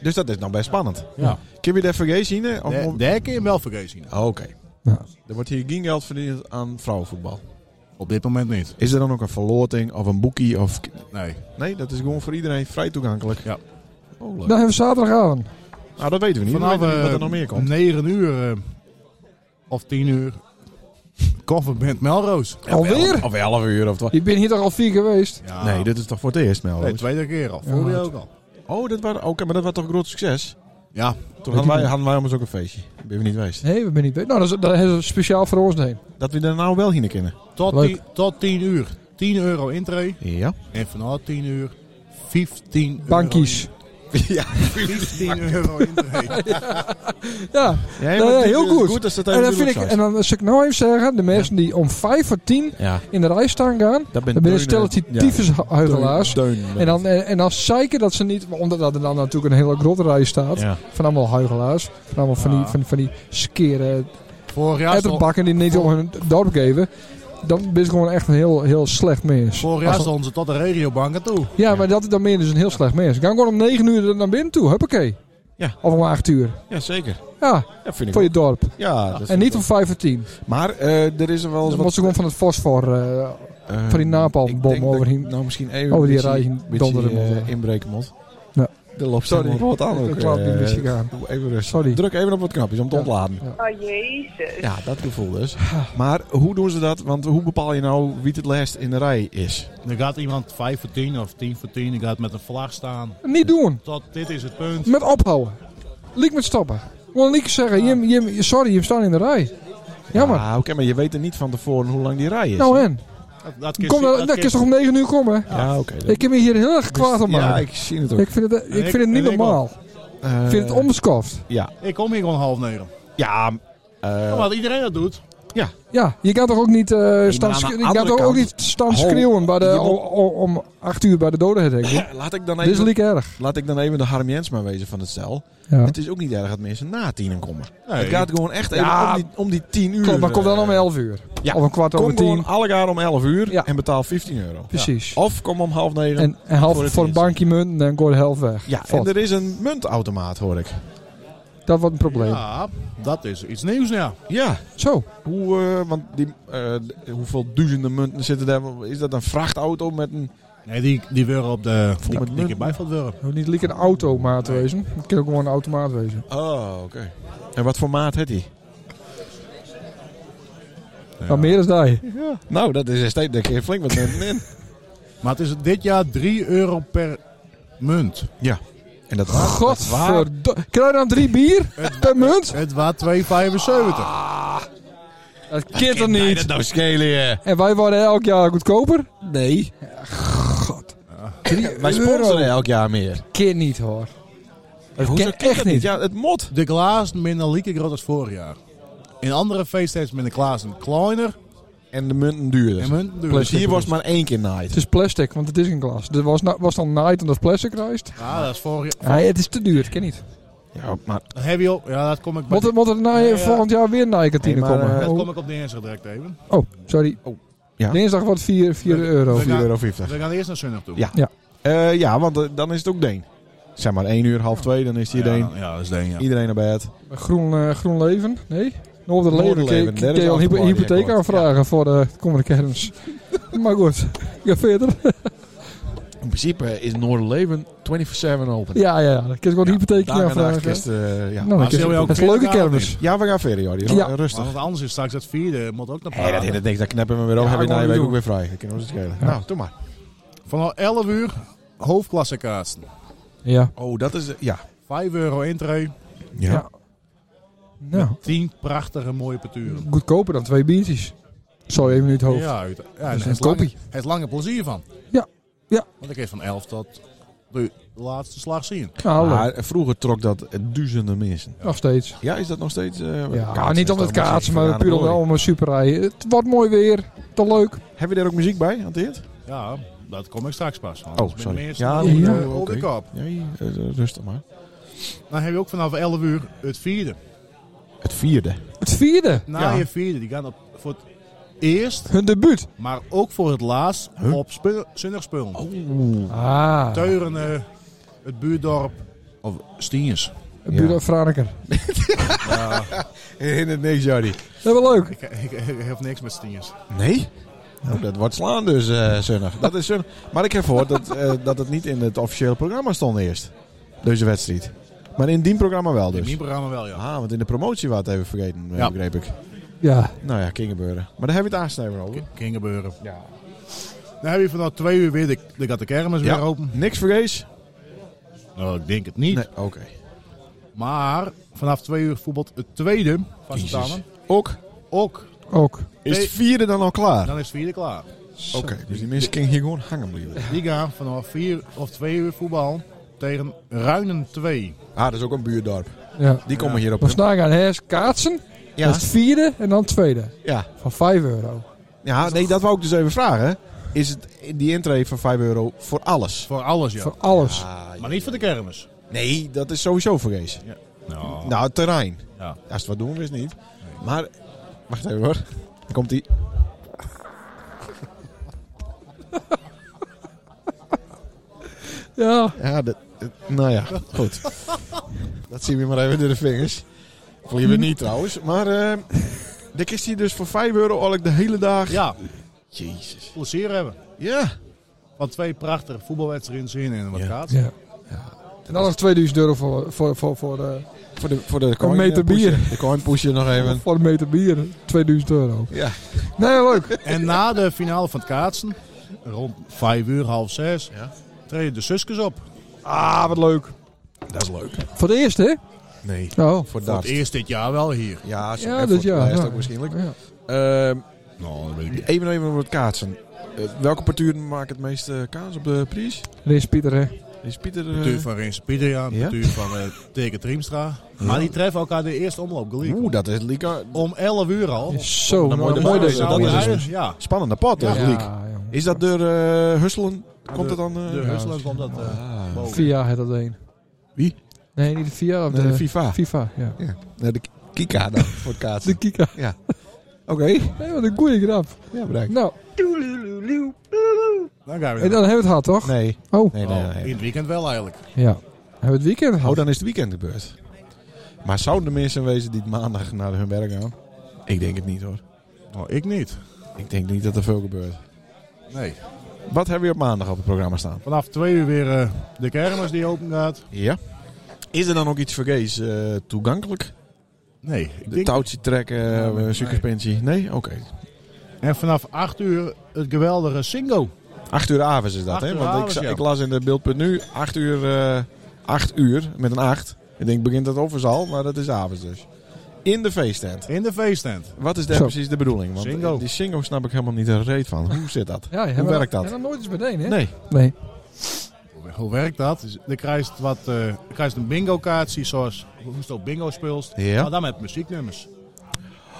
Dus dat is nou best spannend.
Ja.
Kun je dat vergeten zien? hè? Of-
Daar- Daar kun je hem wel vergeten.
Oh, Oké.
Ja.
Er wordt hier geen geld verdiend aan vrouwenvoetbal.
Op dit moment niet.
Is er dan ook een verloting of een boekie? Of...
Nee.
Nee, dat is gewoon voor iedereen vrij toegankelijk.
Ja.
Oh, leuk.
Dan hebben we zaterdagavond.
Nou, dat weten we niet. we weten niet wat er nog meer komt.
9 eh, uur eh, of 10 uur. Kofferband Melroos.
Alweer?
Of 11 uur of 12.
Ik ben hier toch al vier geweest?
Ja.
Nee, dit is toch voor het eerst, Mel?
Nee, tweede keer al.
Ja,
Vorig jaar
het-
ook al.
Oh, dat was, oké, maar dat was toch een groot succes?
Ja.
Toen hadden wij,
niet.
hadden wij ons ook een feestje. Dat ben we niet geweest.
Nee, we ben niet. Nou, dat is, dat is speciaal voor ons heen.
Dat we daar nou wel heen kunnen.
Tot,
Leuk.
10 tot 10 uur. 10 euro intree.
Ja.
En vanaf 10 uur 15 euro
Bankies.
ja.
15 euro intree.
Ja,
Ja,
Nou ja, heel goed.
dat dat
en dan, vind ik, en dan zou ik nou even zeggen, de mensen die om vijf voor tien
Ja,
in de rij staan gaan,
dat ben
dan ben je stelletje tyfushuigelaars.
Deun.
En dan, eh, en, en dan zeiken dat ze niet, maar omdat er dan natuurlijk een hele grote rij staat,
Ja.
van allemaal huigelaars, van allemaal van die,
Ja.
van, van die skere
Vorig jaar stond,
ettenbakken die niet om hun dorp geven, dan ben je gewoon echt een heel, heel slecht mens.
vorig jaar
Als-
stonden ze tot de regiobanken toe.
ja, maar dat dan ben je dus een heel slecht mens. Ga gewoon om negen uur er naar binnen toe, huppakee.
Ja.
Of om acht uur.
Ja, zeker.
Ja,
Ja, vind ik
voor je
ook.
dorp.
Ja, dat vind
En
ik
niet
ook.
om vijf voor tien.
Maar eh, er is er wel eens
Dan moet ze gewoon van het fosfor eh, van die napalmbom
Ik denk dat ik
over die-
Nou, misschien even
over die
een beetje-
rij
beetje,
donderen
eh,
moet.
inbreken moet.
Ja.
Er loopt zo
Sorry.
wat aan
Ik
ook.
laat
eh,
mijn muziek aan.
doe Even rustig.
Sorry.
Druk even op wat knapjes om te
Ja.
ontladen.
Oh jezus.
Ja, dat gevoel dus. Maar hoe doen ze dat? Want hoe bepaal je nou wie het laatst in de rij is?
Er gaat iemand 5 voor 10 of 10 voor 10. Die gaat met een vlag staan.
Niet doen.
Tot dit is het punt.
Met ophouden. Liek met stoppen. Gewoon liek zeggen, Jim, Jim, sorry, je staat in de rij. Jammer.
Ah, Oké, maar je weet er niet van tevoren hoe lang die rij is.
nou en?
Dat, dat kun je
Kom,
zien,
dan, dat
kun je
is toch om 9 uur komen?
Ja, oké. dat-
Ik heb me hier heel erg kwaad om
Ja,
maken.
ik zie het ook.
ik, vind het, ik
ik-
vind het niet
en ik
normaal.
Eh,
Ik vind het onbeskoft.
Ja.
zien. Ik kom hier gewoon half negen.
Ja, eh,
Ja, wat iedereen dat doet.
Ja.
Ja, je kan toch ook niet, eh staan,
aan de
sch- je
andere
kan toch
kant-
ook niet staan
Ho,
schreeuwen bij de,
je moet-
o- o- om acht uur bij de dodenherdenking.
Laat ik, dan
Dit is
even,
liek erg.
laat ik dan even de Harm Jensma wezen van het stel.
Ja.
Het is ook niet erg dat mensen na tienen komen.
Nee.
Het gaat gewoon echt even
Ja.
om, die, om die tien uur.
Ah. Klopt, maar kom dan om
eh,
11 uur.
Ja.
Of een kwart
Kom
over
gewoon
tien.
allegaar om 11 uur
Ja.
en betaal 15 euro.
Precies.
Ja. Of kom om half negen.
En, en half
Voor
voor,
het
een
eerst.
bankje munt en dan gooi de helft weg.
ja, en
Valt.
er is een muntautomaat, hoor ik.
Dat wordt een probleem.
Ja, Ah, dat is iets nieuws, ja.
nou Ja.
Zo.
Hoe, eh, want die, eh, d- hoeveel duizenden munten zitten daar? Is dat een vrachtauto met een...
Nee, die, die worden op de...
met
Die, die
munt.
keer bijvalt worden.
Het hoeft niet liek een automaat wezen. Het kan ook gewoon een automaat wezen.
Oh, oké. En wat voor maat heeft hij?
Maar meer is daar.
Nou, dat is steeds een keer flink wat munten in.
Maar het is dit jaar 3 euro per munt.
Ja. En dat was...
Godverdomme. Krijg je dan drie bier per munt?
Het was 2,75.
Ah. Dat kind er niet.
nou schelen, je?
En wij worden elk jaar goedkoper?
Nee.
God. Drie
Wij sponsoren elk jaar meer.
Kind niet hoor.
Hoezo
ken
kan
echt
dat
niet.
Ja, het mot.
De glazen minder lieke groot als vorig jaar. In andere feestdagen zijn de glazen kleiner
En de munten duurder.
en munten duurder.
Dus hier was maar één keer night.
Het is plastic, want het is geen glas. Er was, na- was dan night en dat plastic rijst.
Ja, dat is vorig jaar.
Nee, het is te duur. Het kan niet.
Ja, maar...
Dat heb je ook. Ja, dat kom ik bij
Moet er, moet er na,
Nee, ja.
volgend jaar weer naar je kantine
Nee, maar,
komen?
eh,
Dat
Oh.
kom ik op de eerste direct even.
Oh, sorry.
Oh, ja.
Dinsdag wordt 4, 4
Nee,
euro.
nee.
4,50 euro.
We gaan eerst naar zondag toe.
Ja. Eh, ja, want eh, dan is het ook Deen. Zeg maar 1 uur, half 2, dan is
Ja,
iedereen,
dan- ja, dat is Deen, ja.
iedereen naar bed.
Groen, eh, groen Leven? Nee? Noorderleven.
Noorderleven,
Leven.
daar is
Kun kun je al een hypo-
afgeleid,
hypotheek
ja, klopt.
aanvragen voor eh, de komende kermis. maar goed, ik ga verder.
In principe is Noorderleven 24-7 open.
Ja, ja, ja. Dan kun je gewoon een hypotheek
Dagen en nachten
aanvragen.
is het, eh, ja.
Nou,
Maar
dat is,
zullen we ook
dat is een leuke
verder gaan
kermis.
niet?
ja, we gaan verder, Jordi. Eh,
Ja.
Rustig.
Want anders is straks het vierde. Moet ook naar
Hé, dat
praten.
hindert niks. Dan knappen we hem weer op.
Ja,
Heb je
gewoon
na je week
doen.
ook weer vrij. Dat kunnen we ons schelen.
Ja.
Nou, doe maar.
Vanaf 11 uur hoofdklasse kaarsen.
Ja.
Oh, dat is... eh, Ja.
5 euro intree.
Ja.
Ja. Nou,
10 prachtige mooie paturen.
goedkoper dan twee biertjes. Zo één minuut hoofd.
Ja, uit, ja
is
en
een
het lange-
kopie.
Het lange plezier van.
Ja, ja.
Want ik heb van 11 tot de laatste slag zien.
Nou, leuk.
Maar vroeger trok dat duizenden mensen.
nog steeds.
Ja, is dat nog steeds... eh,
Ja,
kaatsen
niet om
is
het
toch
kaatsen,
misschien
maar puur om
vergaande
om een superrij. Het wordt mooi weer. Te leuk.
glorie. Heb je daar ook muziek bij, hanteert?
Ja, dat kom ik straks pas. Anders ben ik
Oh, sorry.
de eerste
Ja,
die,
ja,
eh, op de
oké.
kop.
Nee, eh, rustig maar.
Dan heb je ook vanaf 11 uur het vierde.
Het vierde.
Het vierde.
Na
Ja.
je vierde, die gaan op, voor het eerst,
Hun debuut.
maar ook voor het laatst
Huh?
op spul- zondagspullen.
Ah.
Teuren, eh, het buurdorp, of Stiens.
Het bureau Franeker.
Hindert niks, Jordi.
Dat is wel leuk.
Ik, ik, ik heb niks met Stiens.
Nee? Nou, dat wordt slaan dus, eh zonnig. Dat is zonnig. Maar ik heb gehoord dat, eh, dat het niet in het officiële programma stond eerst. Deze wedstrijd. Maar in die programma wel
In
dus.
mijn programma wel, ja.
Ah, want in de promotie was het even vergeten, eh,
Ja.
begreep ik.
Ja.
Nou ja, kan gebeuren. Maar daar heb je het aansnijden over.
Ging gebeuren.
Ja.
Dan heb je vanaf 2 uur weer de, de, gaat de kermis weer open.
Niks vergees?
Nou, ik denk het niet.
Nee, oké.
Maar vanaf twee uur voetbalt het tweede van
Jezus.
Stammen.
Ook.
Ook.
Ook.
Is
Nee.
het vierde dan al klaar?
Dan is het vierde klaar.
Oké, dus die mensen kunnen hier gewoon hangen blijven.
Die gaan vanaf vier of twee uur voetbal tegen Ruinen 2.
Ah, dat is ook een buurdorp.
Ja.
Die komen hier op.
We staan aan Hers kaatsen. Dat
Ja,
is het vierde en dan het tweede.
ja.
Van 5 euro.
ja, nee, dat wou ik dus even vragen. Is het die intree van 5 euro voor alles?
Voor alles, ja.
Voor alles.
Ah,
Maar niet voor de kermis.
Nee, dat is sowieso vergees.
Nou,
Nou, het terrein.
Ja.
Als het wat doen we is niet. Maar, wacht even hoor. Daar komt die.
Ja.
Ja, dat, dat- nou ja, goed. dat zien we maar even door de vingers. Vliegen niet trouwens. Maar, eh dit is hier dus voor 5 euro al ik de hele dag.
ja,
Jezus.
plezier hebben.
Ja.
Van twee prachtige voetbalwedstrijden zien en wat
Ja.
gaat.
ja. En dan nog 2000 euro voor, voor, voor, voor, eh,
Voor de, voor de coin,
meter
eh, pushen.
bier.
De coin pushen nog even.
voor een meter bier. 2000 euro.
Ja.
Nee, leuk.
En na de finale van het kaatsen, rond vijf uur, half zes,
Ja.
treden de zusjes op.
Ah, wat leuk.
Dat is leuk.
Voor het eerst, hè?
Nee.
Oh.
Voor
Voor
dat.
het eerst dit jaar wel hier.
Ja, zo,
Ja,
en
dat
voor het
ja,
rest
ja.
ook waarschijnlijk.
Ja.
Ehm,
Nou, dat weet ik niet.
even nog even over het kaatsen. Eh, welke parturen maken het meeste kaas op de prijs?
Dit is Pieter, hè?
Is Pieter... eh,
Natuur van Rens Pieter,
Ja?
natuur van eh Tegen Triemstra. Maar die treffen elkaar de eerste omloop gelijk.
Oeh, dat is Lieke.
Om 11 uur al.
Zo,
Dan
nou,
moet je
mooi
de-
dat
dat
Zou je
is
huis-
dus-
Ja.
Spannende pot,
Ja.
hè, Liek.
jongen.
Is dat door eh Husselen? Komt het dan... eh,
De
ja.
Husselen komt dat... eh,
Ah.
boven.
Via het dat een.
Wie?
Nee, niet de Via. Of
Nee,
de,
de FIFA.
FIFA, ja.
Nee, de Kika dan, voor het kaatsen.
De Kika.
Oké.
Nee, wat een goede grap.
Ja, bedankt.
Nou,
Dan gaan we
en dan hebben we het gehad, toch?
Nee.
Oh,
Nee, nee,
Oh,
nee.
In het weekend wel eigenlijk.
ja. Hebben we het weekend
Oh,
gehad?
dan is het weekend gebeurd. Maar zouden er mensen wezen die het maandag naar hun werk gaan? Ik denk het niet hoor.
Nou, ik niet.
Ik denk niet dat er veel gebeurt.
Nee.
Wat hebben we op maandag op het programma staan?
Vanaf twee uur weer eh, de kermis die open gaat.
Ja. Is er dan ook iets vergees eh, toegankelijk?
Nee. Ik
De
denk... Nou,
touwtje trekken, eh,
Nee.
suikerspensie? Nee? Oké.
En vanaf 8 uur het geweldige Singo.
Acht uur avonds is dat,
Acht
hè?
uur
Want ik,
avonds,
za-
ja.
ik las in de beeld.nu acht uur, eh, acht uur met een acht. Ik denk, begint dat overal, maar dat is avonds dus. In de feesttent.
In de feesttent.
Wat is daar
Zo.
precies de bedoeling? Want
Singo.
die singo snap ik helemaal niet een reet van. Hoe zit dat?
Ja,
Hoe werkt dat?
En dan nooit eens meteen, hè?
Nee.
Nee.
Hoe werkt dat? Dus Je krijgt, wat, eh, je krijgt een bingo kaartje zoals hoe je op bingo speelt.
Ja.
Maar dan met muzieknummers.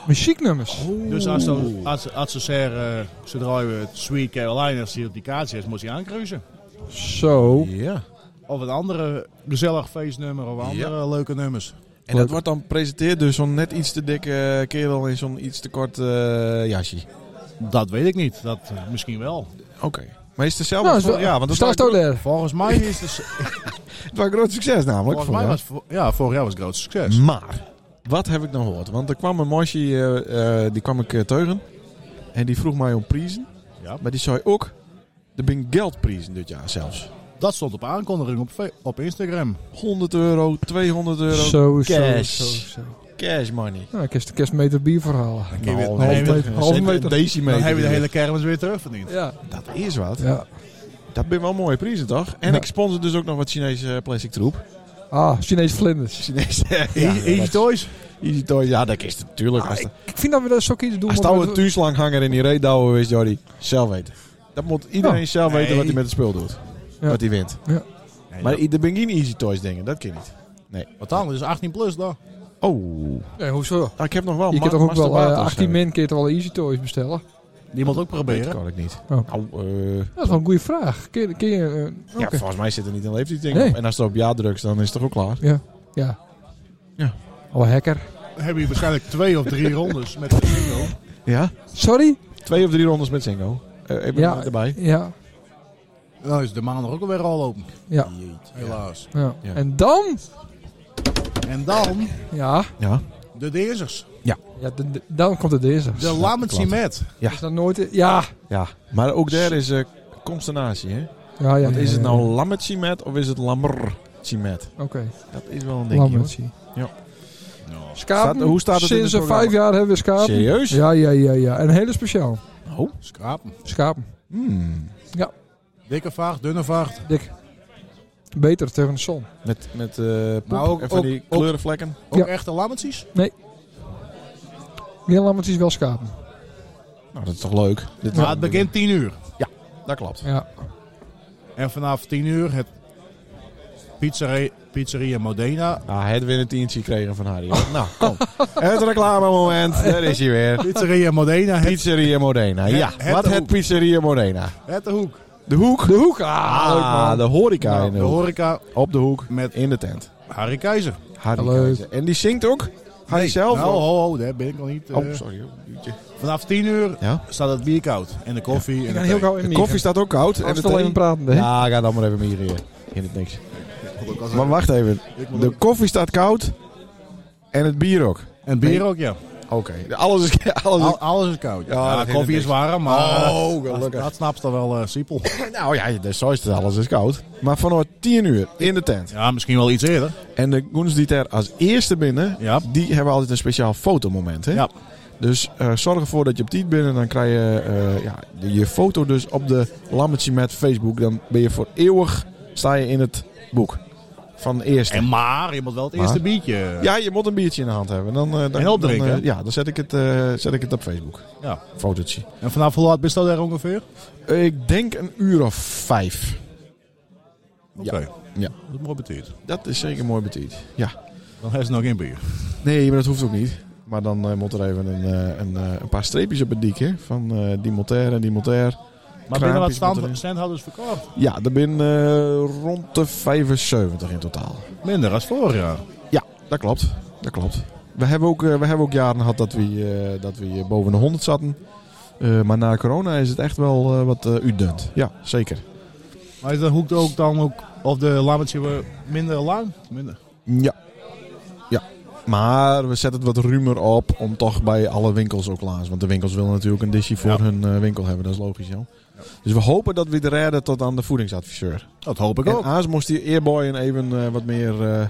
Muzieknummers.
Dus als, ze- als, als ze zeggen, eh, ze draaien het Sweet Caroliners die op die kaartje is, moet je aankruisen.
Zo.
Ja.
Of een andere gezellig feestnummer of andere leuke nummers.
En dat wordt dan gepresenteerd door zo'n net iets te dikke kerel in zo'n iets te kort eh, jasje.
Dat weet ik niet. Dat eh, misschien wel.
Oké. Maar is het zelf?
Nou, is wel-
ja, want dat
Staat
was,
ook daar.
Volgens mij is het...
het was een groot succes namelijk.
Volgens mij
voor
was vo- ja, vorig jaar was het groot succes.
jou. Maar, wat heb ik nou gehoord? Want er kwam een mosje, eh, eh, die kwam ik eh, teugen. En die vroeg mij om prijzen.
Ja.
Maar die zei ook, er zijn geldprijzen dit jaar zelfs.
Dat stond op aankondiging op, fe- op Instagram.
100 euro, 200 euro.
Zo, zo,
Cash.
zo, zo.
Cash money.
Nou, ik heb de kerstmeter bier verhalen.
kun je weer-
Nou,
half
een
meter- half
cent-
meter.
decimeter.
Dan heb je de hele kermis weer terugverdiend.
Ja.
Dat is wat.
ja.
Dat ben wel mooie prijzen, toch? En
Ja.
ik sponsor dus ook nog wat Chinese eh, plastic troep.
Ah, Chinese vlinders.
Chinese.
Easy, easy Toys.
Easy toy. Ja, dat is het natuurlijk.
Ah,
als
ik,
de-
ik vind dat we dat zo iets doen.
als
want
nou een
we-
tuinslang in die reet douwen is, Jordi, zelf weten. Dat moet iedereen
Ja.
zelf weten wat hij
Nee.
met het spul doet.
Ja.
Wat hij wint.
Nee,
Maar
dat-
er ben geen Easy Toys dingen, dat kan niet.
wat dan? Dat is 18 plus dan.
Oh,
Nee, hoezo?
Ah, ik heb nog wel
Je
ma-
kunt toch ook wel eh,
masturbators,
18
eh,
min keer toch wel Easy Toys bestellen?
Die moet ook
Dat
proberen.
kan ik niet.
Oh.
Nou, eh,
Dat is wel een goede vraag. Kun je... kun je, eh,
ja,
oké.
volgens mij zit er niet een leeftijdsding
Nee.
op. En als het op ja drukt, dan is het toch ook klaar.
Ja.
Ja.
Oh, hacker.
Dan heb je waarschijnlijk twee of drie rondes met de bingo.
Ja?
Sorry?
Twee of drie rondes met Singo. Eh ik ben
Ja.
erbij.
Ja.
Dan Nou, is de maandag ook alweer al open.
Ja.
Helaas.
ja.
Ja.
En dan?
En dan
Ja.
Ja.
de Deersers.
ja de- de- dan komt het deze.
De Lammetje
klopt.
met.
Is dat nooit... Ja.
Ja, maar ook daar is eh consternatie, hè?
Ja, ja.
Want
ja,
is het
ja,
nou
ja.
lammetje-met of is het lammertje-met?
Oké.
Dat is wel een dingje, hoor.
Lammertje.
Ja.
Nou,
Schapen.
Staat- hoe staat het in
Sinds
het
eh,
programma?
vijf jaar hebben we schapen.
Serieus?
Ja, ja, ja, ja. En hele speciaal.
Oh.
Schrapen.
Schapen.
Hmm.
Dikke vaart, dunne vaart.
Dik. Beter tegen de zon.
Met, met eh poep
Maar ook-
en van
ook-
die
ook-
kleurenvlekken.
Ook
Ja.
echte lammetjes.
Heel lammetjes wel schapen.
Nou, dat is toch leuk? Dit
Maar het begint 10 uur.
Dat klopt.
Ja.
En vanaf 10 uur het pizzeria, pizzeria Modena. Oh.
Ah, hij had weer een tientje gekregen van Harry. hoor. Nou, kom. het reclamemoment. Daar is hij weer.
Pizzeria Modena, het,
Pizzeria Modena. Ja,
Het- het
wat
de
het
hoek.
Pizzeria Modena?
het de hoek.
De hoek.
De hoek. Ah, leuk
Ah,
man.
de horeca
Nou,
in de,
de
hoek.
horeca
Op de hoek.
met
In de tent.
Harry Keizer.
Harry
Leuk.
Keizer. En die zingt ook? Hij zelf?
Nou,
ook?
ho, ho, daar ben ik nog niet. eh.
oh, sorry. hoor. Uurtje.
vanaf 10 uur
Ja?
staat het bier koud. En de koffie. En
Ik
de
ben heel
thee.
gauw in
De
de
koffie staat ook koud.
en
En de
het alleen
thee.
praten. hè?
Ja, ga dan maar even hier. eh, In het niks. Maar wacht even.
Ik moet
De
ook-
koffie staat koud. En het bier ook.
En bier ook, ja.
Oké. Alles is... Alles is-
Al- alles is koud.
Ja,
Ja,
dat is
koffie is
niks.
warm, maar eh,
Oh,
dat-
gelukkig.
dat snapt dan wel eh Siepel.
Nou ja, de zo is het. Alles is koud. Maar vanaf 10 uur in de tent.
Ja, misschien wel iets eerder.
En de goens die daar als eerste binnen,
Ja.
die hebben altijd een speciaal fotomoment. Hè?
Ja.
Dus eh, zorg ervoor dat je op tijd bent en dan krijg je eh, ja, de- je foto dus op de lammetje met Facebook. Dan ben je voor eeuwig, sta je in het boek van de eerste.
En maar, je moet wel het
Maar?
eerste biertje. eh.
ja, je moet een biertje in de hand hebben. Dan, eh, dan,
En opdrinken,
dan, eh,
hè?
ja, dan zet ik, het, eh, zet ik het op Facebook.
Ja.
Fotootje.
En vanaf hoe laat bist dat daar ongeveer?
Ik denk een uur of vijf.
Oké.
Ja.
Dat is mooi betuurd.
Dat is zeker mooi betiet. Ja.
Dan heeft ze nog geen bier.
Nee, maar dat hoeft ook niet. Maar dan eh, moet er even een, eh, een, eh, een paar streepjes op het dik, hè. Van eh, die montaire en die montaire.
Maar binnen wat
Kraampjes moeten
stand,
erin.
standhouders verkocht?
Ja, er ben eh, rond de 75 in totaal.
Minder als vorig jaar.
Ja, dat klopt. Dat klopt. We hebben ook, eh, we hebben ook jaren gehad dat we, eh, dat we eh, boven de 100 zaten. Eh, maar na corona is het echt wel eh, wat eh uitdunt. Ja, zeker.
Maar is dat hoekt ook dan ook of de lammetje weer minder lang? Minder.
Ja. Ja. Maar we zetten het wat rumer op om toch bij alle winkels ook laars. Want de winkels willen natuurlijk een disje voor
Ja.
hun eh, winkel hebben. Dat is logisch, joh. Dus we hopen dat we het redden tot aan de voedingsadviseur.
Dat hoop ik
En
ook.
Aas moest die eerboyen even eh, wat meer eh,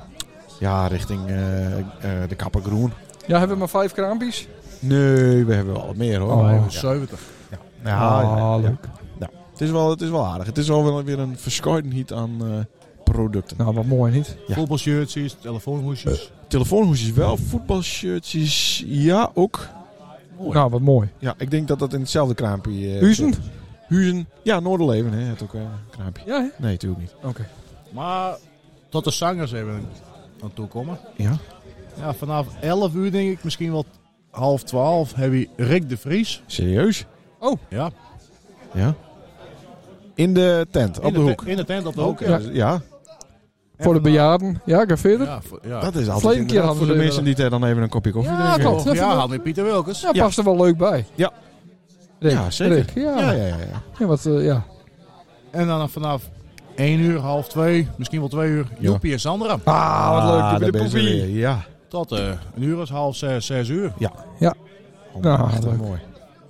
ja, richting eh, eh, de kapper groen.
Ja, hebben we maar vijf kraampjes?
Nee, we hebben wel wat meer hoor.
Oh,
Maar- ja.
70.
Ja, ja, ja.
Ah, leuk.
Het, is wel, het is wel aardig. Het is wel wel weer een verschuidenheid aan eh, producten.
Nou, wat mooi niet.
Ja. Eh,
Voetbalshirtjes, telefoonhoesjes.
Telefoonhoesjes wel, voetbalshirtjes ja ook.
Nou, wat mooi.
Ja, ik denk dat dat in hetzelfde kraampje... eh,
Huizen?
zit. Huizen. Ja, Noorderleven hè, het ook eh, een kraampje.
Ja, hè?
Nee, natuurlijk niet.
Oké.
Maar tot de zangers even aan toekomen.
Ja?
Ja, vanaf 11 uur denk ik, misschien wel half 12, heb je Rick de Vries. Oh.
Serieus?
Ja,
Ja. In de tent,
in
op de hoek.
te- In de tent op de hoek.
Ja, ja,
En
Voor
vanaf-
de bejaarden. Ja, ga verder. Ja,
Ja, voor- ja.
dat is altijd
Vleemkeer
inderdaad
hadden
voor de
ze
mensen die daar dan even een kopje koffie
Ja,
drinken.
klopt.
Oh,
dat
ja,
is-
haal met Pieter Wilkens.
Ja.
past er wel leuk bij.
Ja.
Rick,
Ja, zeker.
Rick, ja.
Ja,
Ja,
ja, ja. ja.
wat, eh, ja.
En dan vanaf 1 uur, half 2, misschien wel 2 uur, Joepie en Sandra.
Ah, wat leuk.
daar
Joepie de
ben ze
Poepie.
weer. Ja.
Tot eh, een uur is half 6, 6 uur.
Oh,
Nou,
echt
leuk.
mooi.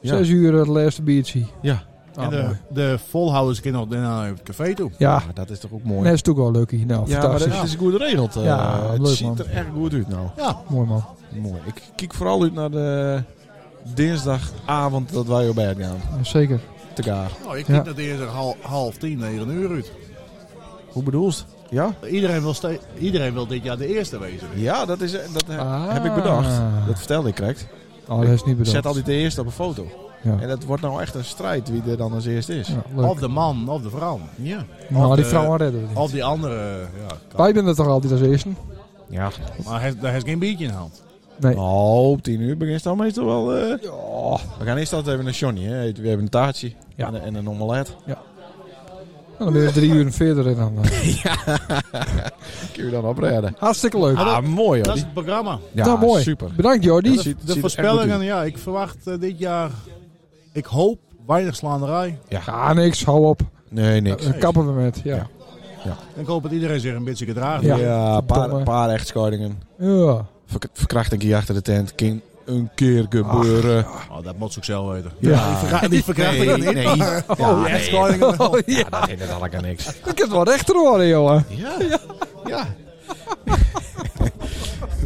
Ja.
Zes uur eh, het laatste biertje.
Ja.
Ah,
en eh, de,
mooi.
de volhouders kunnen nog naar het café toe.
Ja,
Ah, dat is toch ook mooi.
dat is toch wel leuk. Nou,
ja, maar
fantastisch.
dat is goed geregeld. eh.
Ja,
het
leuk,
ziet
man.
er echt goed uit nou.
Mooi man.
Mooi. Ik kijk vooral uit naar de dinsdagavond dat wij op bed gaan.
Ja, Zeker.
Te kaar.
Nou, ik
Ja.
denk dat deze half, half 10, 9 uur uit.
Hoe bedoelst? Ja?
Iedereen wil, ste- iedereen wil dit jaar de eerste wezen.
Ja, dat, is, eh, dat he-
Ah.
heb ik bedacht. Dat vertelde ik correct.
Oh, dat is niet bedoeld.
Zet altijd de eerste op een foto.
Ja.
En dat wordt nou echt een strijd wie er dan als eerste is.
Ja, leuk.
Of de man, of de vrouw.
Ja.
nou,
of
die
de-
vrouwen redden we niet.
Of die andere. eh, Ja, kan.
Wij doen het toch altijd als eerste? Nou,
Ja.
Maar hij, daar heeft geen biertje in de hand.
Nee.
Nou, op tien uur begint dan meestal wel... eh.
Ja.
We gaan eerst altijd even naar Johnny. Hè. We hebben een taartje
Ja.
en, een- en een omelet.
Dan ben je drie uur verder en dan... eh,
Kun je dan oprijden.
hartstikke leuk.
Ah, mooi hoor.
Dat is
Die-
het programma.
Ja,
nou, mooi.
super.
Bedankt Jordi.
ziet- ziet
De
er echt
voorspellingen,
goed
ja, ik verwacht eh, dit jaar. Ik hoop weinig slaanderij.
Ja.
Ja, Ah, niks. Hou op.
Nee, niks.
Dan kappen we met. Ja.
Ja.
Ja.
Ik hoop dat iedereen zich een beetje gedraagt.
Ja.
Ja, een paar,
verdomme.
paar echtscheidingen. Verk- Verkrachting hier achter de tent. Kan een keer gebeuren.
Oh, dat moet ze ook zelf weten.
Ja.
Die, vergra- die verkrachting
Nee,
niet.
nee.
maar-
Ja,
oh,
nee.
echt scoringen wel.
Oh, ja.
Ja, dat vindt het allemaal niks.
Ik heb het wel rechter horen, jongen.
Ja. Ja.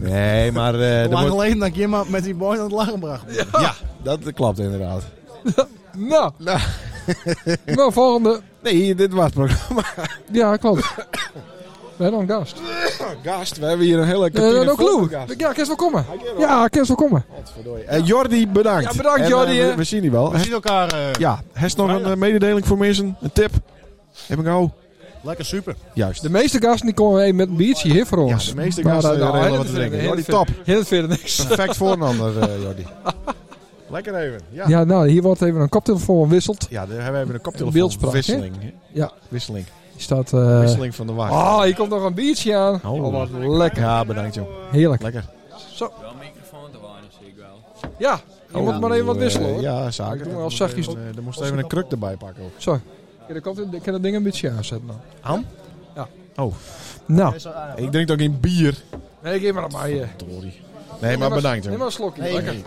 nee, maar... eh, er
Lang
wordt-
geleden dat ik iemand met die boy aan het lachen bracht.
ja, dat klopt inderdaad.
Nou.
Nou.
nou, volgende.
Nee, dit was het programma.
Ja, klopt. We hebben een gast.
Ah, Gast, we hebben hier een hele
Eh,
kantine vol
no clue.
met gasten.
Ja, kerst wel komen. Ja, kerst wel komen.
Eh, Jordi, bedankt.
Ja, bedankt,
En, eh,
Jordi,
we-
hè.
we, zien je wel.
We zien elkaar. eh,
Ja, heeft nog een eh, mededeling voor mensen? Een tip? Heb ik nou? al?
Lekker super.
Juist.
De meeste gasten die komen even met een biertje hier voor ons.
ja, de meeste gasten
Maar, eh, nou,
regelen
heel
wat te
verder,
drinken.
heel
Jordi, top.
verder. Heel verder niks.
Perfect voor een ander, eh, Jordi. Lekker even. Ja.
Ja, nou, hier wordt even een koptelefoon gewisseld.
Ja, daar hebben we even een koptelefoon.
Beeldspraak, hè?
Wisseling. hè?
Ja.
Wisseling.
Die staat... eh
Wisseling van de wacht.
Ah, hier komt nog een biertje aan.
Oh.
Oh, wat lekker.
Ja, bedankt joh.
Heerlijk.
Lekker.
Wel een microfoon te weinig, zie ik wel.
Ja, je moet maar even wat wisselen,
Eh,
hoor.
ja, zaken.
Ik doe
Dat
wel
moest
zachtjes.
even, eh, Er moest even een kruk erbij pakken. ook.
Zo. Kijk, dan komt- Ik kan dat ding een beetje aanzetten. Nou.
Aan?
Ja.
Oh.
Nou.
Ik drink ook geen bier.
Nee, geef maar aan mij. eh.
Dory. Nee, maar bedankt
Neem
joh.
maar een slokje.
Nee,
lekker.
nee.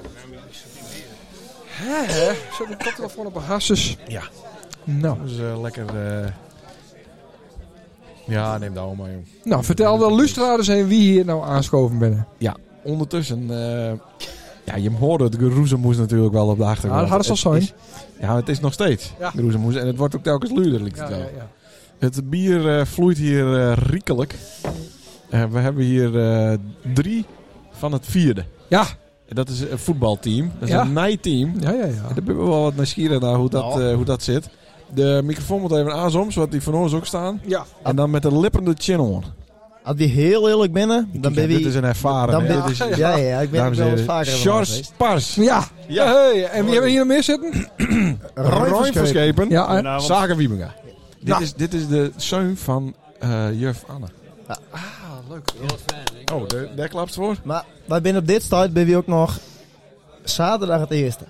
Hè, hè. Zet een koptelefoon op een hasses.
Ja.
Nou.
Dus eh, lekker... eh, Ja, neem dat allemaal joh.
Nou, vertel de lustraden zijn wie hier nou aanschoven binnen.
Ondertussen... eh, Ja, je hoorde het. Geroezemoes natuurlijk wel op de achtergrond.
Ja, dat had het al zijn.
is- Ja, het is nog steeds.
Ah, Ja.
Geroezemoes. En het wordt ook telkens luider, lijkt het wel.
ja.
Het bier eh, vloeit hier eh, riekelijk. Eh, we hebben hier eh, drie van het vierde.
Ja,
En Dat is een voetbalteam. Dat is
Ja.
een nijteam.
ja, ja. ja.
Daar ben ik wel wat nieuwsgierig naar hoe dat,
Nou.
eh, hoe dat zit. De microfoon moet even aanzoomen, zodat die van ons ook staan.
Ja.
En dan met een lippende chin on.
Als die heel eerlijk binnen, dan
Kijk,
ben je...
dit is een ervaren.
dan
hè.
ben
Dit is-
ja, ja, ja, ik ben er
dus- Dames en
wel eens
heren,
vaker aan
Sjors
geweest.
Pars.
Ja, ja. Hey, en wie hebben we hier nog meer zitten?
Roy Verschepen.
Ja, eh,
Goedenavond.
Zaken Wiebinga. Dit,
Nou.
is, dit is de zoon van eh, juf Anne. Ah,
Groot fan. ik
Oh, de, daar klapt voor.
Maar wij zijn op dit start ben je ook nog zaterdag het eerste.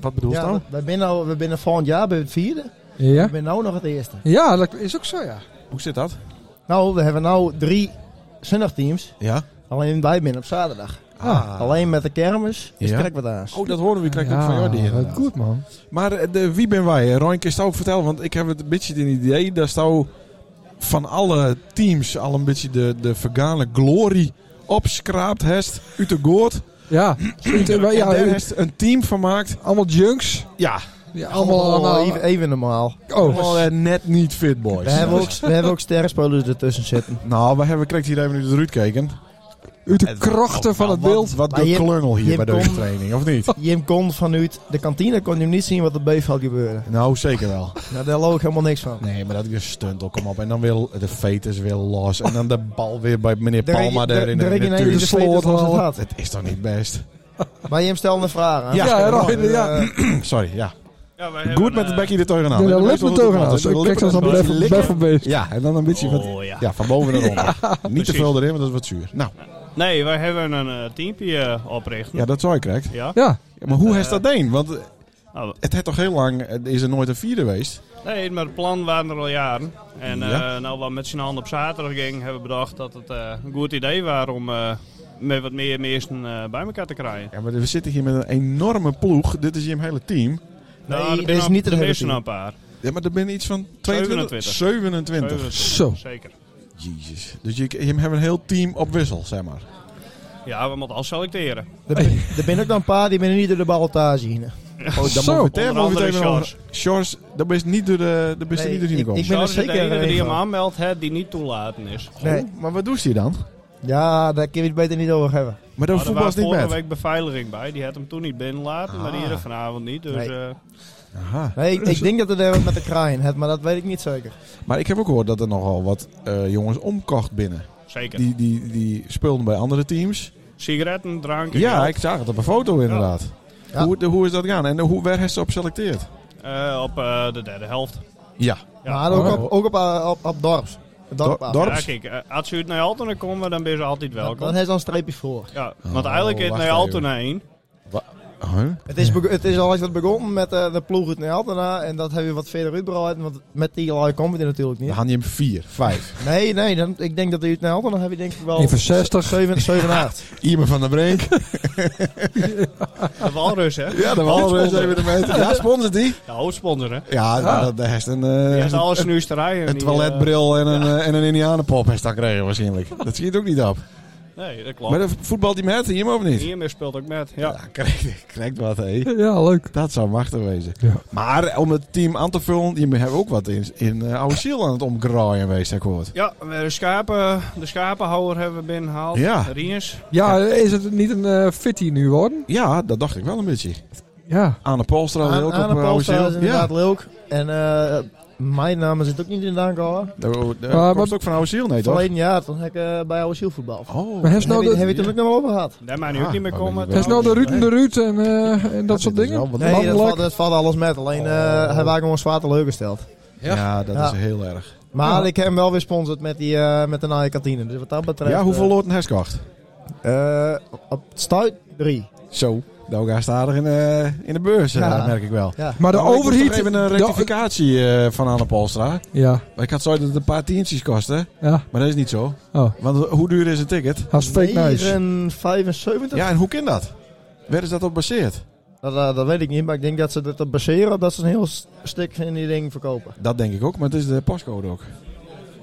Wat bedoelt
ja,
nou?
we- wij zijn nou, we binnen volgend jaar bij het vierde.
Ja.
We zijn nou nog het eerste.
ja, dat is ook zo, ja.
Hoe zit dat?
Nou, we hebben nou drie zondagteams.
Ja.
Alleen wij binnen op zaterdag.
Ah.
Alleen met de kermis is
Ja.
ja. Kerkwadaars.
Oh, dat horen we. Ik krijg ook van jou die.
wat
inderdaad.
goed, man.
Maar eh, de, wie ben wij? Roy, kun je het ook vertellen? Want ik heb het een beetje het idee dat jou van alle teams al een beetje de, de vergane glorie opschraapt hebt. Uit de goot.
Ja, Goed, eh,
Ja,
maar ja,
en daar
eh,
heeft een team van maakt.
allemaal junks.
Ja.
Ja, allemaal, allemaal,
even, even normaal.
oh,
Allemaal, eh, net niet fit
We
boys.
hebben, ook, we hebben ook sterrenspelers ertussen zitten. Eh,
Nou, we hebben krijgt hier even nu de Ruud kijken.
uit de krachten van het beeld.
Nou, Wat
Maar
doet
je-
klungel hier
je
bij deze
kon-
training, of niet?
Jim kon vanuit de kantine kon hem niet zien wat er beef had gebeuren.
Nou, zeker wel.
Nou, daar loog ik helemaal niks van.
Nee, maar dat gestuntel, kom op. En dan wil de fetus weer los. En dan de bal weer bij meneer
De
Palma
regi-
daar
de-
in
de
de
regi-
natuur.
de
Sloot
sloot
al.
al.
Het is toch niet best?
Maar Jim stelde een vraag aan.
Ja, ja, Roy, ja.
Sorry, ja.
Ja, wij
Goed
hebben,
met de
eh,
bekje de teugen aan.
De
En dan
lip
weet je
met
wat het
togen aan.
was.
Zo, Ik
De
kijk
lippen
dan zo'n
met een
Baffle-
likken.
Baffle Beast.
Ja, en dan een beetje van...
Oh, ja.
Ja, van boven naar onder. Niet te
Precies.
veel erin, want dat is wat zuur. Nou,
Nee, wij hebben een eh, teampje eh, opricht.
ja, dat zou je krijgen.
Ja.
Ja,
Ja, maar hoe heeft dat deen? Want eh,
Nou,
het heeft toch heel lang... eh, Is er nooit een vierde geweest?
nee, maar het plan waren er al jaren. En eh,
Ja.
nou, wat met z'n handen op zaterdag ging, hebben we bedacht dat het eh, een goed idee was om eh, met wat meer mensen eh, bij elkaar te krijgen.
Ja, maar we zitten hier met een enorme ploeg. Dit is hier een hele team.
Nee,
Nou, er
dat
zijn
is
al-
niet het
er
hele
is er
team.
nog een paar.
Ja, maar er binnen iets van 22,
27.
27.
zo.
Zeker.
Jezus. Dus je, je hebt een heel team op wissel, zeg maar.
Ja, we moeten al selecteren.
Er ben- Eh, er ben ook nog een paar die ben niet door de ballotage heen.
Oh,
Zo.
Onder andere Sjors.
Sjors, dat is niet door de, dat is er
Nee,
niet doorheen
ik-
gekomen.
ik ben er
Sjors is
zeker
de enige die
één
hem
van.
aanmeldt hè, die niet toelaten is.
Nee.
Oh, maar wat doet hij dan?
Ja, daar kun je het beter niet over hebben.
Maar
Maar
dan
Nou, er
voetbal
was
is niet
vorige
met.
week beveiliging bij. Die had hem toen niet binnenlaten, maar die er vanavond niet. Dus
Nee.
eh,
Aha. Dus-
Nee, ik, ik denk dat het er wat met de kraaien heeft, maar dat weet ik niet zeker.
Maar ik heb ook gehoord dat er nogal wat eh, jongens omkocht binnen.
zeker.
Die, die, die speelden bij andere teams.
Sigaretten, drank. en
Ja,
geld.
ik zag het op een foto inderdaad.
Ja.
Hoe, de- hoe is dat gaan? En hoe, waar heeft ze op selecteerd?
Eh, op eh, de derde helft.
Ja.
Ja.
Maar ook,
Oh.
op, ook op, eh, op, op dorps. Het dorp
Dor-
af.
dorp?
Ja, kijk, eh, als je uit naar Altona komt, dan ben je altijd
Dan,
welkom.
dan heeft dan een streepje voor.
Ja,
Oh,
want eigenlijk is het
wacht
naar
even.
Altona heen.
Huh?
Het is, beg- het is al wat begonnen met eh, de ploeg uit Neltena en dat hebben we wat verder uitbreid, want met die lui komt het natuurlijk
Dan
niet.
had je hem vier, vijf.
Nee, nee, dan, ik denk dat die uit Neltena heb je denk ik wel
In van 60.
7, 7 8.
Iemand van der Brink.
De Walrus, hè?
Ja, de Walrus even de meter. Ja, sponsort die?
De hoofdsponsor, hè?
Ah.
Ja, nou, dat daar heeft een, eh,
Ah. Die
een,
heeft alles nu te rijden.
een
Die,
toiletbril en een, eh, en een indianenpop heeft dan gekregen waarschijnlijk. Dat ziet ook niet op.
eh, nee, dat klopt.
Maar de voetbal die met hier of niet?
Hiermee speelt ook met. Ja.
Ja, krijgt krijgt wat, hé.
Ja, leuk.
Dat zou machtig wezen.
Ja.
Maar om het team aan te vullen, je hebt ook wat in, in eh, oude ziel aan het omgraaien geweest, heb ik gehoord.
Ja, we hebben de, schapen, de schapenhouwer hebben we binnengehaald.
Ja.
Riens.
Ja, is het niet een eh fitty nu worden?
Ja, dat dacht ik wel een beetje.
Ja.
Anne Polstra wil ook
Aan
op
de
eh, oude
Polstra is
ziel. Ja,
inderdaad leuk. En eh, mijn naam zit ook niet in de aankomen.
dat dat
Ah,
Maar-
Nou, oh, komt ook van oude ziel, nee toch?
Verleden jaar, toen heb ik eh, bij oude ziel voetbal.
Oh,
Maar heeft
Heb
nou
je,
de,
heb je het er ook nog wel over gehad?
Daar mag nu ook
Ah,
niet meer
maar ben
komen.
je wel-
heeft nou de Ruud en de Ruud en, eh, en dat soort
dit is
dingen?
wel wat-
Nee, dat
Landelijk?
valt, dat valt alles met. Alleen eh, hij was gewoon zwaar teleurgesteld.
Oh. ja. dat
Ja.
is heel erg.
Maar
Ja.
ik heb hem wel weer sponsord met, die, eh, met de Nike kantine. Dus wat dat betreft...
Ja, hoeveel loten heeft ze gekocht?
eh, eh, op stuit 3.
Zo, nou gaat aardig in, eh, in de beurs, eh,
Ja.
dat merk ik wel.
Ja.
Maar de
Nou, ik moest
overheat...
nog even een
de-
rectificatie eh, van Anne Polstra.
Ja,
Ik had zo dat het een paar tientjes kostte,
ja.
maar dat is niet zo.
Oh,
Want hoe duur is een ticket?
dat is fake nice.
75?
Ja, en hoe kan dat? Waar is dat op baseerd?
Dat, eh, dat weet ik niet, maar ik denk dat ze dat op baseren op dat ze een heel s- stuk in die ding verkopen.
Dat denk ik ook, maar het is de postcode ook.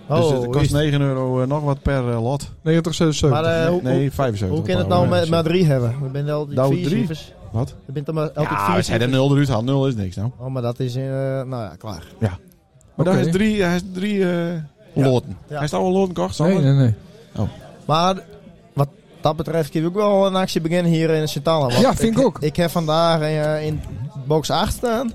dus het
Oh, is
kost
het?
9 euro eh, nog wat per eh, lot.
90,
maar
77.
eh, hoe,
nee,
hoe,
75.
hoe kan het
euro,
nou
ja,
met,
zo.
met 3 hebben? We zijn altijd
Nou,
vier
drie.
cijfers.
Wat?
We zijn altijd
Ja, we
vier
zeiden
cijfers.
0 eruit haal. 0 is niks nou.
Oh, maar dat is... eh nou ja, klaar.
Maar daar
Oké.
is drie, hij is drie eh, loten.
Ja.
Hij is al een loten gekocht,
Nee,
Sander?
nee, nee.
Maar wat dat betreft kun je ook wel een actie beginnen hier in Sint-Anne.
Ja, vind ik ook.
Ik heb vandaag eh, in box 8 staan.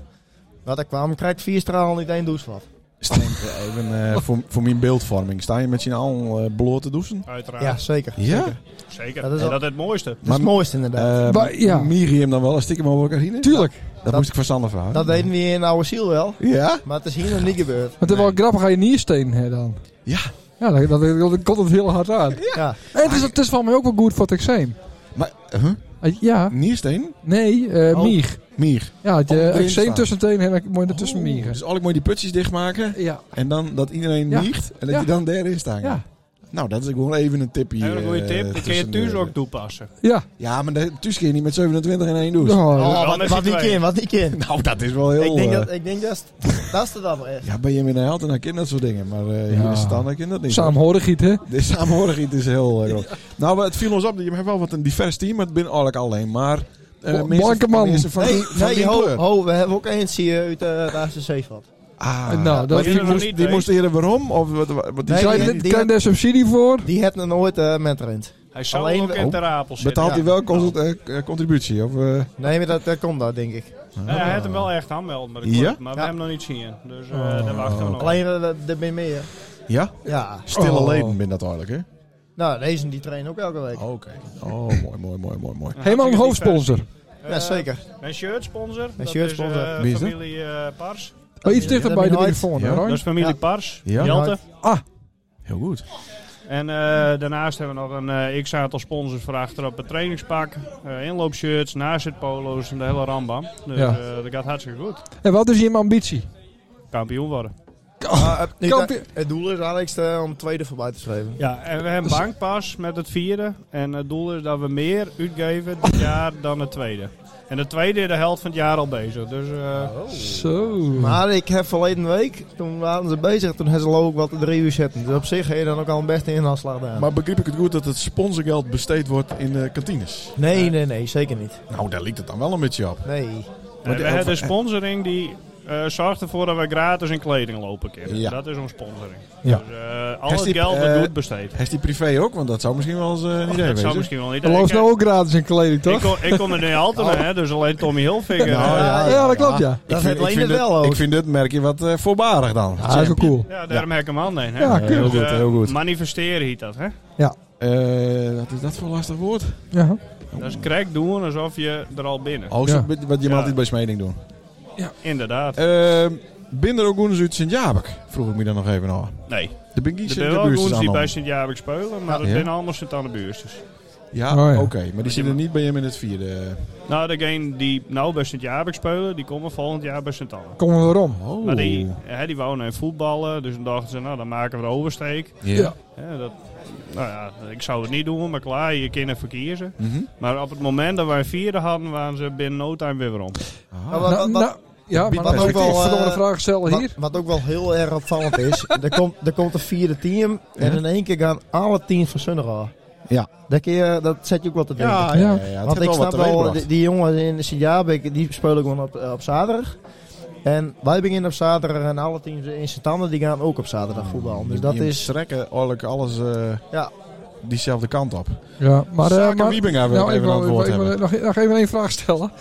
Dat ik kwam, krijgt vier stralen niet één douche wat.
Stenk, eh, even eh,
Oh.
voor, voor mijn beeldvorming. Sta je met je al eh bloot te douchen?
Uiteraard.
Ja, zeker.
Ja?
Zeker.
Dat
Dat
is
is,
al-
dat het mooiste.
Dat is het mooiste inderdaad.
Eh,
Maar- ja.
Miriam dan wel een stiekem over elkaar heen?
Tuurlijk.
Dat, moest ik van Sander vragen.
dat deden we hier in oude ziel wel.
Ja?
Maar het is hier nog niet gebeurd.
Want het is wel grappig aan je niersteen hè, dan.
Ja.
Ja, dat, dat, dat komt het heel hard aan.
Ja.
En het is, het is van mij ook wel goed voor het eczeem.
Maar, huh?
Eh, Ja,
Niersteen?
nee, eh
Oh.
mier.
Mier.
Ja, het
Oh,
je
erin
eczeem
staan.
tussen teen en dan moet je er tussen mieren.
Dus al ik mooi die putjes dichtmaken.
Ja,
En dan dat iedereen
Ja.
miegt. En dat
Ja.
je dan daarin staat.
ja,
Nou, dat is gewoon even een tipje.
Heel een goede
eh,
tip. Die kun je
tussen
thuis
de-
ook toepassen.
ja.
Ja, maar de- thuis kun je niet met 27 in één douche.
Oh,
Oh,
Oh,
dan
wat,
is hij
wat niet
twee.
kind, wat niet kind.
Nou, dat is wel heel...
Ik denk
eh,
dat, ik denk dat, is- dat is er dan wel echt.
Ja, ben je met een held en dan kind dat soort dingen. Maar eh
Ja.
hier is het dan, dan kind dat niet.
Saamhorigheid, hè?
De samenhorigheid is heel eh, groot. Nou, maar het viel ons op. Je hebt wel wat een divers team. maar Het binnen eigenlijk alleen maar... eh,
Bo-
mensen-
blanke man.
mensen van
Nee,
die, van
nee
die
ho,
kleur.
ho, we hebben ook eentje eh, uit eh, de ACC gehad.
Ah,
Nou, dat-
maar
Die
die,
er nog
moest,
niet eh,
die
bij.
moest eerder waarom? Of wat, wat, wat- die
Nee,
zei-
die-
Krijg je daar subsidie voor?
Die hebben nog nooit eh met rent.
Hij zou
Alleen
ook
we-
in ter apel zitten.
betaalt
ja.
hij wel consult- eh, eh, contributie? Of, eh,
Nee, maar dat, dat komt daar, denk ik.
Ja, hij had hem
Ah.
wel echt aanmeld, maar, dat
Ja?
klopt, maar we
Ja.
hebben hem nog niet zien. Dus eh, daar wachten we nog.
Alleen, eh, dat- dat ben meer.
ja?
Ja.
Stille
Oh.
leden ben dat eigenlijk, hè?
Nou, deze die trainen ook elke week.
Oké. Oh, mooi, mooi, mooi, mooi, mooi.
Helemaal een hoofdsponsor.
Eh,
ja, zeker.
Mijn shirtsponsor. Mijn
shirtsponsor.
shirtsponsor. Dat
Wie
is
is
eh,
dat?
familie eh, Pars.
Oh, iets dichter
dat
bij
heb
de
je nooit.
microfoon, hè,
Ja.
Roy?
Dat is familie
Ja.
Pars.
Ja.
Jelte.
Heel goed.
En eh, daarnaast hebben we nog een eh, x-aantal sponsors voor achter op het trainingspak. eh, inloopshirts, nazitpolo's en de hele rambam. Dus
Ja.
eh, dat gaat hartstikke goed.
En wat is je ambitie?
Kampioen worden.
Maar, eh, niet-
Ah, Kampioen-
het doel is Alex eh, om tweede voorbij te schrijven.
Ja, en we hebben bankpas met het vierde. En het doel is dat we meer uitgeven dit jaar dan het tweede. En het tweede is de helft van het jaar al bezig. Dus
Oh.
eh,
Zo.
Maar ik heb verleden week, toen waren ze bezig, toen hebben ze ook wat de drie uur zetten. Dus op zich heb je dan ook al een beste inhaalslag gedaan.
Maar begreep ik het goed dat het sponsorgeld besteed wordt in de kantines?
nee, nee, nee, zeker niet.
Nou, daar liep het dan wel een beetje op.
Nee.
nee, we hebben de sponsoring die eh, zorgt ervoor dat we gratis in kleding lopen kunnen.
Ja.
Dat is onze sponsoring.
Ja.
Dus eh, al
Is
het
die,
geld
eh,
wordt goed besteed. Oh,
Heeft die privé ook? Want dat zou misschien wel eens eh, een idee
Dat zou
wezen.
misschien wel niet.
Er loopt
Ik- eh,
nou ook gratis in kleding,
Ik
toch? Oh,
kon, ik kon er niet altijd naar, hè, dus alleen Tommy Hilfiger.
Nou,
eh,
Oh. ja,
Ja, dat klopt, ja.
Dat
vind-
het alleen
vind
het
dit-
wel ook.
Ik vind dit merkje wat eh, voorbarig dan.
Ja, dat Ah, is wel cool.
Ja, daarom heb ik hem aan. Nee, hè.
Ja,
Dus,
heel goed,
eh,
heel goed.
Manifesteren heet dat, hè?
Eh, wat is dat voor een lastig woord?
Ja.
Dat is crack doen alsof je er al binnen.
Oh,
Ja.
zo- wat je mag
Ja.
altijd bij smeding doen.
Inderdaad.
Ehm Binder ook eens uit Sint-Jabek? Vroeg ik me dan nog even af.
Nee.
De Binky
Er
zit
zijn
in de
wel
buurt
goons die bij
aan.
Sint-Jabek spelen, maar dat
Ja.
zijn allemaal sint aan de buurtjes.
Ja,
Oh, ja.
oké. maar die zitten niet bij hem in het vierde.
Nou, degene die nou bij Sint-Jabek spelen, die komen volgend jaar bij sint Anne.
Komen we waarom?
Oh.
Maar die, hè, die wonen in voetballen, dus dan dachten ze, nou, dan maken we de oversteek.
Ja.
Hè, dat, nou ja, ik zou het niet doen, maar klaar, je kinderen verkiezen.
Mhm.
Maar op het moment dat wij een vierde hadden, waren ze binnen no time weer weer om.
Ah.
Nou, wat-
Nou,
wat-
nou, ja, maar
wat
dan
ook wel,
ik verdomme
eh,
de vraag stellen
Wat,
hier.
wat ook wel heel erg opvallend is, er komt, er komt een vierde team en
Ja.
in één keer gaan alle teams van Sunderland.
Ja.
Dat, kun je, dat zet je ook wat te denken.
Ja, ja, ja,
Ja.
ja. Het heeft
Want ik
wel wat
snap wel,
teweeggebracht.
die, die jongen in Sint-Jabek, die spelen gewoon op, eh, op zaterdag. En wij beginnen op zaterdag en alle teams in Sint-Anne, die gaan ook op zaterdag voetballen. Dus dat
Die
is...
strekken eigenlijk alles eh,
Ja.
diezelfde kant op.
Ja, maar... eh,
Zaken
maar
Wiebinga wil
nou,
ik even
ik wil-
aan het woord
ik wil
hebben.
nog, nog even één vraag stellen.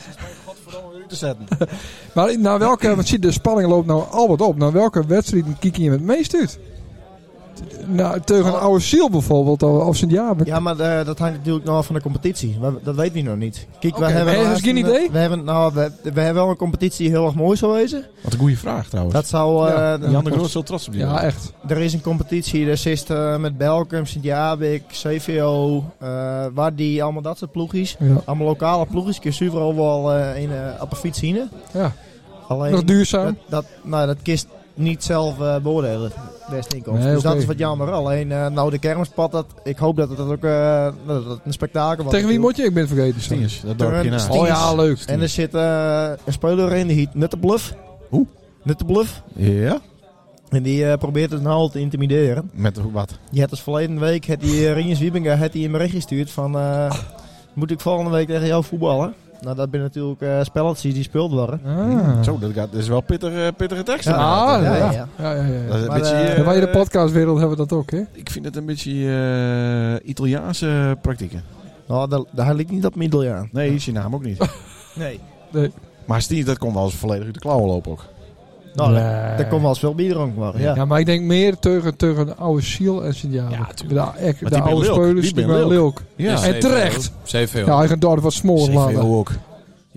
Te zetten.
Maar naar welke, want zie, de spanning loopt nou al wat op. Naar welke wedstrijd kijk je het meest uit? Nou,
Oh.
tegen Oude Ziel bijvoorbeeld, of of Sint-Jabek.
Ja, maar eh, dat hangt natuurlijk nog af van de competitie. We- dat weten we nog niet. Kijk,
Oké,
we hebben
maar
laatst
is geen
een-
idee?
We hebben, nou, we, we hebben wel een competitie die heel erg mooi zou wezen.
Wat een goede vraag trouwens.
Dat zou... eh,
Ja,
de-
Jan de Groot is heel trots op die.
Ja,
jongen.
echt.
Er is een competitie, daar zit eh, met Belkum, Sint-Jabik, CVO, eh, waar die allemaal dat soort ploegjes.
Ja.
Allemaal lokale ploegjes, kun je overal wel eh, in, eh, op een fiets zien.
Ja.
Alleen,
Nog duurzaam.
dat, dat, nou, dat kist niet zelf eh, beoordelen, best inkomst.
Nee,
dus
oké.
dat is wat jammer. Alleen, eh, nou de kermispad, dat, ik hoop dat het dat ook eh, dat het een spektakel wordt.
Tegen wie moet je? Ik ben het vergeten. sorry.
Stingers, dat dorpje na.
Stingers.
Oh ja, leuk.
En er zit eh, een speler in, die heet Nuttebluf.
Hoe?
Nuttebluf.
Ja,
En die eh, probeert het nou al te intimideren.
met wat?
Je had dus verleden week, had die eh, Rinus Wiebinga had die een bericht gestuurd van... eh, moet ik volgende week tegen jou voetballen? Nou, dat ben natuurlijk eh spelletjes die speeld worden.
Ah.
Zo, dat, gaat, dat is wel pittige, pittige tekst.
Ja,
inderdaad.
Ah, ja, ja.
ja.
ja, ja, ja.
Dat is een
Maar,
beetje,
eh,
eh,
En wij in de podcastwereld hebben we dat ook, hè?
Ik vind het een beetje eh, Italiaanse praktieken.
Nou, dat, dat lijkt niet op middel aan.
Nee, is je naam ook niet.
Nee.
maar Stien, dat kon wel eens volledig uit de klauwen lopen ook.
Nou,
Nee.
daar komt wel eens veel bier dronken worden. Ja.
Ja, maar ik denk meer tegen, tegen de oude Siel en Sint-Jacob.
Ja,
de,
tuurlijk.
ek-
Maar
de
die ben
oude
Lilk.
spelers
Die
die
ben
wel leuk.
Ja,
En terecht.
Zeven.
Ja, ik ga daar wat smaller laten.
CVO ook.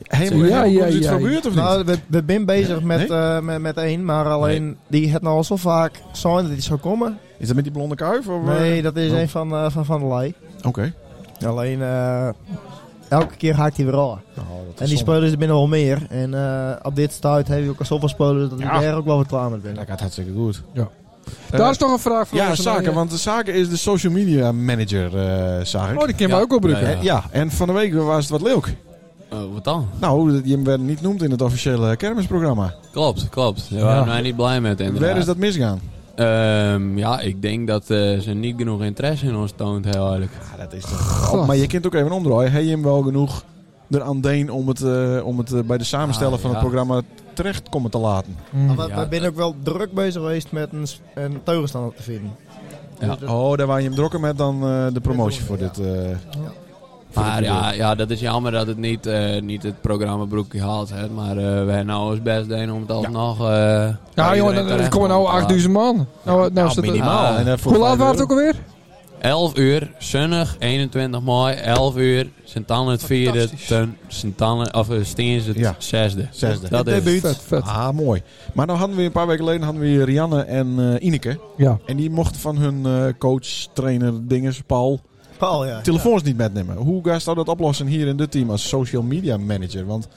Helemaal
Ja, ja,
Komt u het
ja,
van
ja.
buurt of niet?
Nou, we, we zijn bezig met,
Nee?
eh, met, met één, maar alleen die het nou al zo vaak zijn dat die zou komen.
is dat met die blonde kuif? Of, eh?
Nee, dat is
Oh.
een van, eh, van Van der Ley.
Oké.
Alleen eh, elke keer haakt hij weer
Oh,
af. en die spelers er binnen wel meer. En eh, op dit stuit hebben we ook al zoveel spelers dat ik
Ja.
daar ook wel wat klaar mee ben.
Dat gaat hartstikke goed.
Ja.
Eh,
Daar is nog een vraag van
ja,
onze
Zaken.
Nijnen.
Want de Zaken is de social media manager, eh zag ik.
Oh, die kunnen we ook opbrukken.
Eh, ja, en van de week was het wat leuk.
Oh, wat dan?
Nou, je werd niet noemd in het officiële kermisprogramma.
Klopt, klopt. Daar waren wij niet blij met inderdaad.
Waar is dat misgaan?
Ehm, ja, ik denk dat eh, ze niet genoeg interesse in ons toont, heel eerlijk.
Ja, dat is toch... maar je kunt ook even omdraaien. Heb je hem wel genoeg er aan deen om het, eh, om het eh, bij de samensteller
Ah,
van het
ja. Ah,
programma terecht komen te laten?
Mm.
Maar we,
Ja,
we zijn
dat-
ook wel druk bezig geweest met een, s- een tegenstander te vinden.
Ja.
Dus dat-
Oh, daar waar je hem drokken met dan eh, de promotie voor
Ja.
dit... eh, voor
Maar
dit
ja, ja, dat is jammer dat het niet, eh, niet het programma broekje haalt. Hè. Maar eh, we hebben nou ons best deden om het alsnog... eh,
Ja,
bij
jongen,
iedereen
dan- dan
terecht
komen
te
nou
laten.
8000 man. Nou, nou, is dat-
minimaal.
Ah.
En, eh, voor
Hoe laat
vijf
waren het ook
euro.
alweer?
11 uur, zonnig, 21 mei, 11 uur, Sint-Anne het vierde,
Fantastisch.
ten- Sint-Anne, of eh, Steens het
Ja.
zesde.
Zesde.
Dat is het.
Vet, vet.
Ah, mooi. Maar nou hadden we een paar weken geleden hadden we hier Rianne en eh, Ineke.
Ja.
En die mochten van hun eh, coach, trainer, dinges, Paul,
Paul, ja.
telefoons niet metnemen. Hoe ga je dat oplossen hier in dit team als social media manager? Want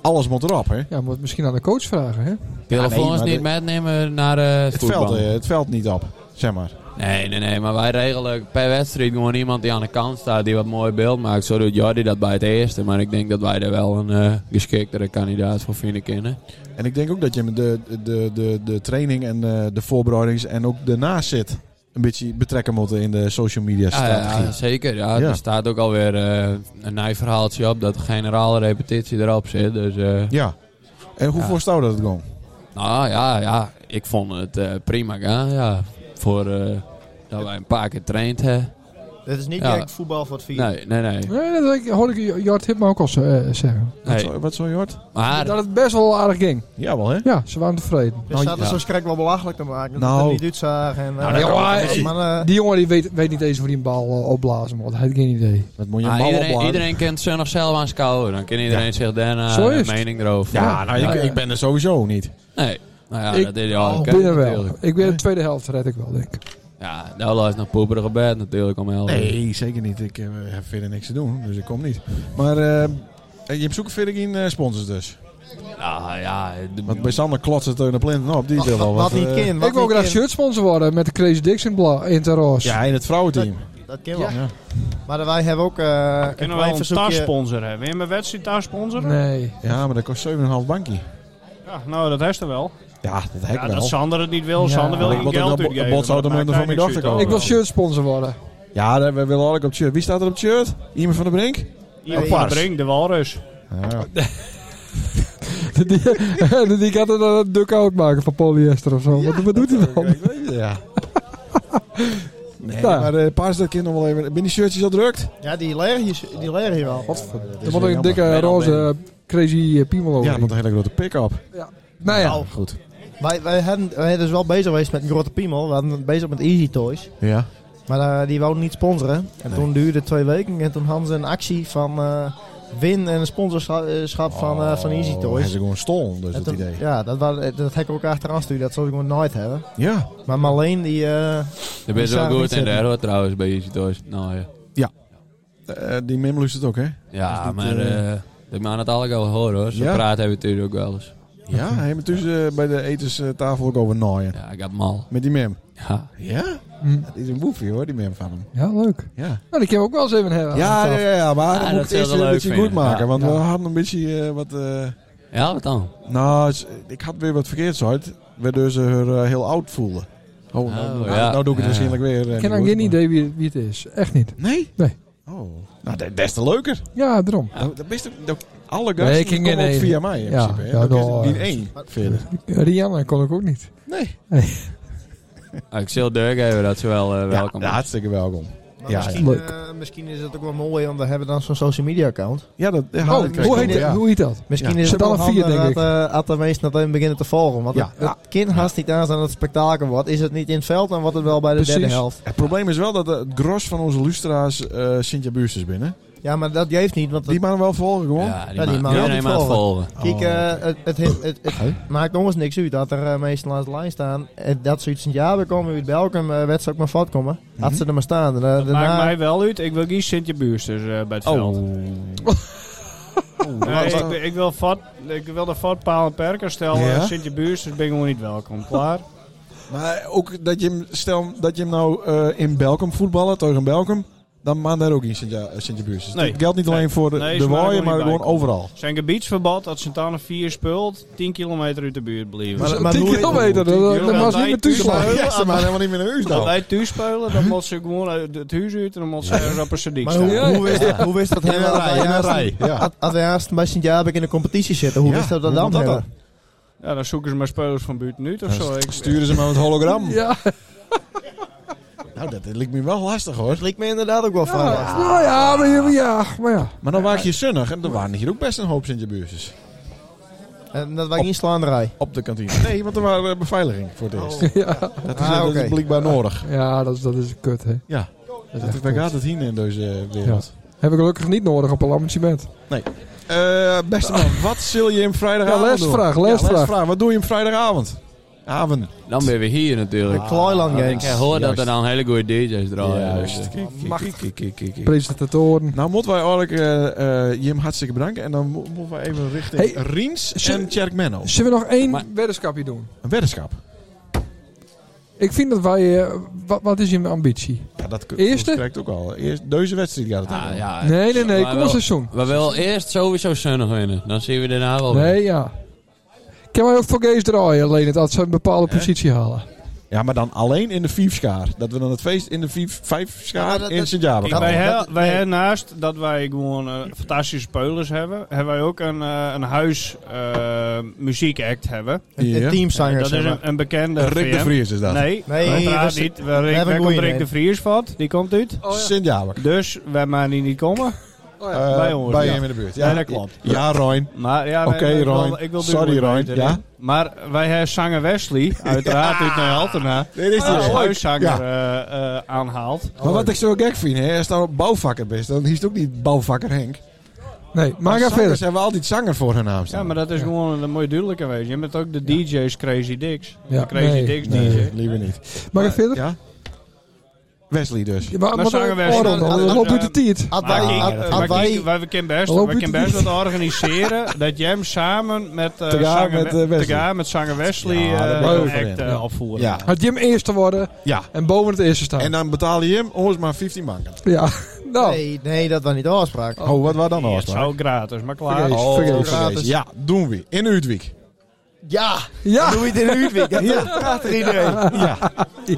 alles moet erop, hè?
Ja, moet misschien aan de coach vragen, hè?
Ja, nee,
Telefoons
maar
niet
de-
metnemen naar eh, het
Het veld,
voetbal.
eh, het veld niet op, zeg maar.
Nee, nee, nee, maar wij regelen per wedstrijd gewoon iemand die aan de kant staat, die wat mooi beeld maakt. Zo doet Jordi dat bij het eerste, maar ik denk dat wij er wel een eh, geschiktere kandidaat voor vinden kunnen.
En ik denk ook dat je met de, de, de, de training en eh, de, de voorbereidings en ook daarnaast zit een beetje betrekken moeten in de social media
Ja, ja,
strategie.
zeker. Ja,
Ah, Ja.
Er staat ook alweer eh, een nieuw verhaaltje op dat de generale repetitie erop zit, dus... eh,
Ja. En hoe
Ja.
voorstel je dat het gewoon?
Nou ja, ja. Ik vond het eh, prima gaan, ja. Voor eh, dat wij een paar keer traind hebben.
Dit is niet
Ja.
direct voetbal voor het vier.
Nee, nee, nee.
Nee, dat weet ik- hoorde ik Jort Hipma ook al z- eh, zeggen.
Wat,
nee.
zo, wat zo je hoort?
Maar
Dat het best wel aardig ging.
Jawel, hè?
Ja, ze waren tevreden. Nou,
Dus dat
ja.
is zo skrek wel belachelijk te maken.
Nou.
Dat het niet uitzagen. En, eh,
dat kan wel
maar,
een beetje.
maar, eh,
Nou, Die jongen die weet, weet niet eens hoe die een bal eh, opblazen moet. Hij heeft geen idee.
Dat moet je
ah,
bal
iedereen,
opbladen.
iedereen kent ze nog zelf aanschouwen. Dan kan iedereen zich daarna
Zo is
een
het.
mening erover.
Ja, nou, ik, ik ben er sowieso niet.
Nee. Nou ja,
Ik-
dat is ja,
Oh,
dat ken
binnen
ik
wel.
natuurlijk.
Ik ben de tweede helft, red ik wel, denk ik.
Ja, daar luistert nog poeperige bed natuurlijk om helpen.
Nee, zeker niet. Ik eh, heb verder niks te doen, dus ik kom niet. Maar eh, je hebt zoeken verder geen eh, sponsors dus.
Nou ja, de-
Want bij Sander klotst het in de planten op. Die
wat,
wil wel
wat,
wat.
niet
eh,
kind.
Ik wil graag shirtsponsor worden met de Crazy Dixon bla in het roos.
Ja, in het vrouwenteam.
Dat kan wel.
Ja.
Maar wij hebben ook eh een
Kunnen we
klein
wel een
verzoekje.
taarsponsor hebben? Wil je mijn wedstrijd taarsponsoren?
Nee.
Ja, maar dat kost 7,5 bankje.
Ja, nou, dat heeft er wel.
Ja, dat heb ik
Ja,
wel.
dat Sander het niet wil.
Ja.
Sander wil
Ik
geen
moet ook
geld
nog bo-
uitgeven.
botsautomunten
maar dat maakt
voor mijn
niks uit.
dochter
Ik wil
wel.
shirtsponsor worden.
Ja, daar- we willen eigenlijk op het shirt. Wie staat er op het shirt? Iemand van de Brink?
Iemand
Apart.
breng de walrus.
Ja.
die, die gaat er dan een duck-out maken van polyester of zo. wat, wat doet hij dan? Nou,
ja. Nee,
Ja.
maar eh Paars, dat kind nog wel even. Ben die shirtjes al drukt?
Ja, die leer je, die leer je wel.
Er moet ook een dikke
Ben al
roze crazy eh, piemel over.
Ja, want een hele grote pick-up.
nou ja,
Nou,
Goed.
wij, wij, hadden, wij hadden dus wel bezig geweest met een grote piemel. We hadden bezig met Easy Toys.
Ja.
Maar eh, die wouden niet sponsoren. En
Nee.
toen duurde het twee weken. En toen hadden ze een actie van eh, win en een sponsorschap van, eh, van Easy
Oh, hij is
Toys.
gewoon stol,
En
dus dat
toen-
idee.
Ja, dat, waren, dat heb ik ook achteraan sturen. Dat zou ik nog nooit hebben.
Ja.
Maar Marleen die... eh,
dat ben
zou
zo
ik niet
goed en
zeggen.
daar hoort trouwens bij Easy Toys. Nou ja,
Eh, die Mim lust het ook, hè?
ja
niet,
maar
eh,
eh ik mag het allemaal wel horen hoor. Zo
Ja.
praten hebben we natuurlijk ook wel eens.
Ja, hij heeft tussen eh, bij de etenstafel ook over naaien.
Ja, ik heb mal.
Met die mem.
Ja.
Ja?
Hm.
Dat is een boefje hoor, die mem van hem.
ja, leuk.
Ja,
Nou, die kan ik ook wel eens even hebben.
ja, ja, ja, maar
Ah,
dan
dat
moet ik
zou
eerst
ik wel
een
leuk
beetje goed
vinden.
maken.
Ja.
want we
Ja.
hadden een beetje eh, wat... eh,
ja, wat dan?
nou, s- ik had weer wat verkeerd uit. Waardoor ze haar eh, heel oud voelden. Oh,
Oh,
nou, nou,
ja.
nou doe ik het
Ja.
waarschijnlijk weer. eh,
Ik heb dan
niet
geen
goed, maar-
idee wie, wie het is. Echt niet.
Nee?
Nee.
Oh, nou dat- des te leuker.
Ja, daarom.
Dat, dat best, dat, alle
Nee,
gasten
ik ging
komen
in
ook
één.
via mij in
Ja,
principe. hè.
ja,
Dat is
nou,
niet
eh,
één verder.
Rihanna kon ik ook niet.
Nee.
Ah, Ik zal Dirk even dat ze wel eh,
Ja,
welkom is.
hartstikke welkom.
Maar
Ja,
misschien,
leuk.
eh, misschien is het ook wel mooi, want we hebben dan zo'n social media account. Nou,
Ja, dat ja,
Oh,
dat krijg
hoe,
ik
heet,
wel,
dat-
ja.
hoe heet dat?
Misschien
Ja.
is
Zit
het
alle
alle
vier,
vier,
denk ik.
dat, eh dat de meesten dat even beginnen te volgen. Want
Ja.
het, het kind haast niet aan dat het spektakel wordt. Is het niet in het veld, dan wordt het wel bij de
Precies.
derde helft.
Het probleem is wel dat eh, het gros van onze lustra's eh Sintja Buurs is binnen.
Ja, maar dat geeft niet, want het-
Die mannen wel volgen gewoon.
Ja, die,
Ja, die
ma-
man
ja,
wil
die
niet
maat
volgen.
volgen.
Kijk,
Oh.
eh, het, het, heeft- het, het maakt ons niks uit dat er eh, meestal aan de lijn staan. En dat ze uit Sint-Jabe komen, uit Belkum, eh wedstrijd ook maar vat komen.
Mhm.
Had ze er maar staan. En, eh,
Dat
daarna-
maakt mij wel uit. Ik wil geen Sintje Buursters eh, bij het veld. Nee, ik, ik wil vat, ik wil de vat paal en perken stellen.
Ja?
Ja? Sintje Buursters ben ik gewoon niet welkom. Klaar?
Maar ook dat je hem, stel dat je hem nou eh, in Belkum voetballen, tegen Belkum, dan maakt daar ook in Sintje Buurs.
Nee.
Dat Dus geldt niet alleen
Nee.
voor de,
Nee,
de
ze maken
waaien,
er
maar
niet bij.
gewoon overal.
Zijn gebiedsverbod dat Sint-Anne 4 speelt, 10 kilometer uit de buurt blijven.
Maar-
10
hoe-
kilometer, dat- dat- dat
Ja,
was
wij
niet meer
thuis
toeslaan.
waren. Ja, ze maken
helemaal niet meer een uur
dat wij thuis spelen, dan moet ze gewoon uit het huis uit en dan moet ze ergens op een sadiek
Maar hoe,
staan.
hoe, wist, hoe wist dat helemaal dat wij haast-
Ja.
Had- Had wij haast bij Sint-Jabe in de competitie zitten, hoe
Ja,
wist dat
hoe
dat dan?
moet dat
hebben?
Ja, dan zoeken ze maar spelers van buiten uit of zo. Ik,
Sturen ze maar met hologram.
Ja,
Nou, dat lijkt me wel lastig hoor.
Dat lijkt me inderdaad ook wel van.
nou ja, maar ja, ja, maar ja.
Maar dan waren je zonnig en er waren hier ook best een hoop Sintje Buursjes.
En dat wij geen slaanderij.
Op de kantine. Nee, want er waren eh, beveiliging voor het eerst.
Ja,
Dat is,
Ah,
dat is
oké.
blijkbaar nodig.
ja dat, is, dat is kut, hè.
Ja.
Dat is
Dat
echt
Daar
kut.
gaat het heen in deze wereld.
Hebben we gelukkig niet nodig op een lammensement.
Eh, beste man, wat zul je hem vrijdagavond
Ja, lesvraag,
doen?
lesvraag.
Wat doe je hem vrijdagavond? Avond.
Dan ben we hier
De
natuurlijk.
Ah,
Kloiland
Ik
Games.
hoor dat
Juist.
er dan hele goede DJ's draaien.
Juist. Mag ik?
Presentatoren.
Nou moeten wij eigenlijk eh, eh, Jim hartstikke bedanken. En dan mo- moeten wij even richting
Hey,
Riens
zullen-
en Tjerkmenno.
Zullen we nog
Maar-
één weddenschapje doen?
Een weddenschap.
Ik vind dat wij... eh, wat, wat is je ambitie?
Ja, dat k-
Eerste?
dat krijgt ook al. Eerst, deze wedstrijd gaat het
Ah,
aan.
ja.
Nee, nee, nee.
Maar
Kom
wel-
een seizoen.
We willen eerst sowieso zonnig winnen. Dan zien we daarna wel. weer.
Nee, ja. Kan wij ook voor Gees draaien, alleen het als ze een bepaalde positie halen.
Ja, maar dan alleen in de vijfschaar. Dat we dan het feest in de vijf, vijfschaar
Ja, dat-
in Nou,
dat-
Sint-Java
Kijk,
gaan
wij
doen.
dat-
hebben- wij
nee.
hebben naast dat wij gewoon eh, fantastische spelers hebben, hebben wij ook een, eh, een huis eh, muziekact hebben. Eh,
Een
Ja.
een teamzanger,
dat
zeg
is
maar.
een, een bekende
Rick de
VM.
Vries is dat.
Nee,
Nee,
nee
dat
dat
is-
niet. We,
hebben
rekenen
een
op
goeie,
Rick
nee.
de Vries vat, die komt uit.
Sint-Java.
Dus wij maar die niet komen.
Eh,
bij ons,
Bij
ja.
hem in de buurt.
Ja, dat klopt.
Ja, Roin.
Maar ja,
Oké,
ik wil-
Ryan.
ik wil
Sorry,
duidelijk
Ryan.
weten, hè.
Ja?
Maar wij hebben zanger Wesley, uiteraard uit Nijltena,
Dit is
als
die
huiszanger eh, eh, aanhaalt.
Oh,
Maar wat ik zo gek vind, hè, als nou bouwvakker bent, dan is het ook niet bouwvakker Henk.
Nee, maar ga
zangers
verder.
hebben altijd zanger voor hun naam staan.
Ja, maar dat is gewoon een mooi duidelijk aanwezig. Je bent ook de DJ's Crazy Dicks.
Ja,
de Crazy
nee,
Dicks
Nee,
DJ.
liever niet.
Maar ga verder.
Ja? Wesley dus.
Ja, maar,
Maar
maar
zagen wij-
dan, dan, dan loopt u de tiert.
Had wij-
Maar kijk,
had-
eh,
had
maar
wij-
kijk, wij we kunnen best,
Loop
wij
het
kunnen best
niet.
wat organiseren dat jij hem samen met, eh
Tegaar
zanger,
met, eh, Wesley.
Tegaar met zanger Wesley
Ja, daar
eh,
ben ik ook
een
voor
act
in.
eh,
Ja.
opvoeren.
Ja.
Had Jim eerst te worden
ja.
en boven het eerste staan.
En dan betaal je hem ons maar 15 banken.
ja, nou.
Nee, nee, dat was niet de afspraak.
Oh, wat was dan de
Ja, het
afspraak?
zou gratis, maar klaar.
Vergeet.
Oh,
Vergeefs.
vergeefs. Ja, doen we. In Uitwijk.
Ja,
Ja,
doe je het in Ludwig. Dat is
Ja.
een prachtig idee.
Ja.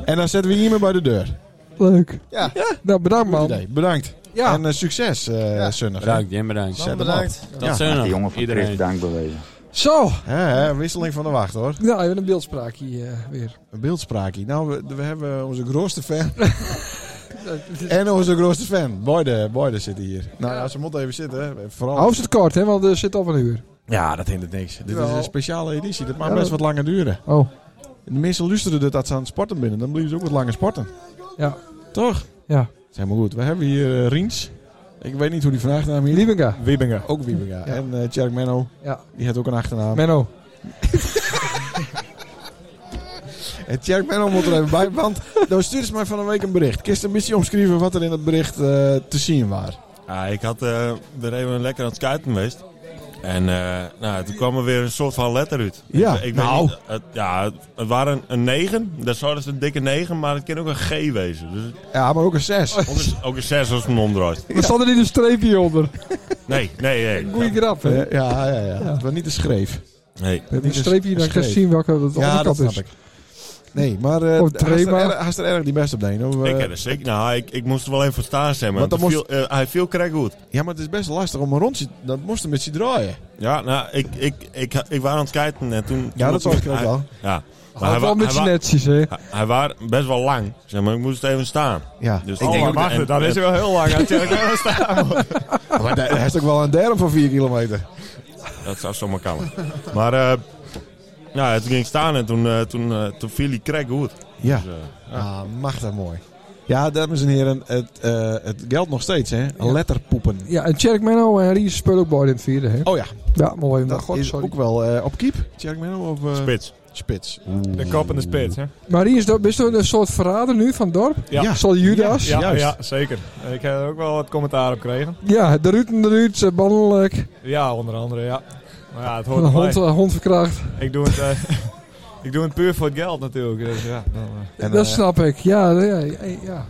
En dan zetten we iemand bij de deur.
leuk.
Ja.
Nou, bedankt man.
Nee, bedankt.
Ja.
En eh, succes, eh Sunnig.
Bedankt, Jim, bedankt.
Dan bedankt.
Dat
Ja.
De
zonnig.
jongen van
Iedereen.
Chris dank bewezen.
Zo.
Hè, hè, wisseling van de wacht hoor.
Nou, even een beeldspraakje eh, weer.
Een beeldspraakje. Nou, we, we hebben onze grootste fan. en onze grootste fan. Boyde, Boyde zit hier. Nou ja, ze moet even zitten. hè. Vooral...
Hou ze het kort, hè, want er zit al een uur.
Ja, dat hindert niks. Dit is
Wel.
een speciale editie. Dat mag
Ja,
best
dat-
wat langer duren.
Oh,
De mensen luisteren dit dat ze aan het sporten binnen. Dan blijven ze ook wat langer sporten.
ja.
Toch?
Ja.
Zeg maar goed. We hebben hier eh, Riens. Ik weet niet hoe die vandaag naam hier
Liebenga.
Wiebinga. Ook Wiebinga. En eh, Tjerk Menno.
Ja.
Die heeft ook een achternaam.
Menno.
En Tjerk Menno moet er even bij. Want dan stuurde ze mij van een week een bericht. Kist een beetje omschrijven wat er in het bericht eh, te zien was.
Ja, ik had, eh ben even lekker aan het kuiten geweest. En eh, nou, toen kwam er weer een soort van letter uit.
Ja,
ik, ik
nou.
Weet niet, het, ja, het, het waren een 9. Dat zou dus een dikke 9, maar het kan ook een G wezen. Dus
Ja, maar ook een
Oh,
6.
ook een, ook een 6 als een omdraait.
Er stond er niet een streepje onder.
Nee, nee, nee.
Goeie grap, hè.
Ja, ja, ja. ja. Het was niet te schreef.
nee.
Met een streepje, dan kan je
geschreven.
zien welke dat
Ja,
andere
dat
kant
snap
is.
ik. Nee, maar eh
Of
hij is er
Trema.
erg- hij is er erg die best op deed. Of, eh,
ik heb er zeker. Nou, ik, ik moest er wel even voor staan zijn, maar
Want dan
het viel- eh, hij viel krek goed.
ja, maar het is best lastig om een rondje. Dat moest een beetje draaien.
Ja, nou, ik, ik, ik, ik, was aan het kijken en toen...
Ja, dat
toen-
zag ik ook
hij-
wel.
Ja. Maar
Had wel
wa-
een beetje
wa-
netjes, hè?
hij, hij was best wel lang, zeg maar. Ik moest even staan.
Ja.
Dus
Oh, maar wacht, dan is hij wel heel lang.
Maar daar- hij heeft ook wel een derm van 4 kilometer.
Dat zou zomaar kunnen. maar eh nou, toen ging ik staan en toen, eh, toen, eh, toen viel hij krek goed.
Ja.
Dus, eh,
Ah, mag dat mooi. Ja, dames en heren, het, eh, het geldt nog steeds, hè? Letterpoepen.
Ja, en Tjerk Menno eh, en Ries spelen ook beide in het vierde. Hè?
Oh ja,
Ja, mooi.
dat
Maar, Nou, God,
is
sorry.
ook wel eh, op keep. Check me nou op eh,
spits.
spits.
De kop en de spits, hè?
maar Ries, dat- bist u een soort verrader nu van het dorp?
Ja.
Zal Judas?
Ja,
Juist.
ja, zeker. Ik heb er ook wel wat commentaar op gekregen.
Ja, de Ruud en de Ruud, eh, bannelijk.
Ja, onder andere, ja. Maar ja, het hoort
Een hond,
erbij.
eh, hond verkracht.
Ik doe het... eh, Ik doe het puur voor het geld natuurlijk. Dus ja, dan, eh.
En,
dat
eh,
snap ik. Ja, ja, ja, Eh, ja.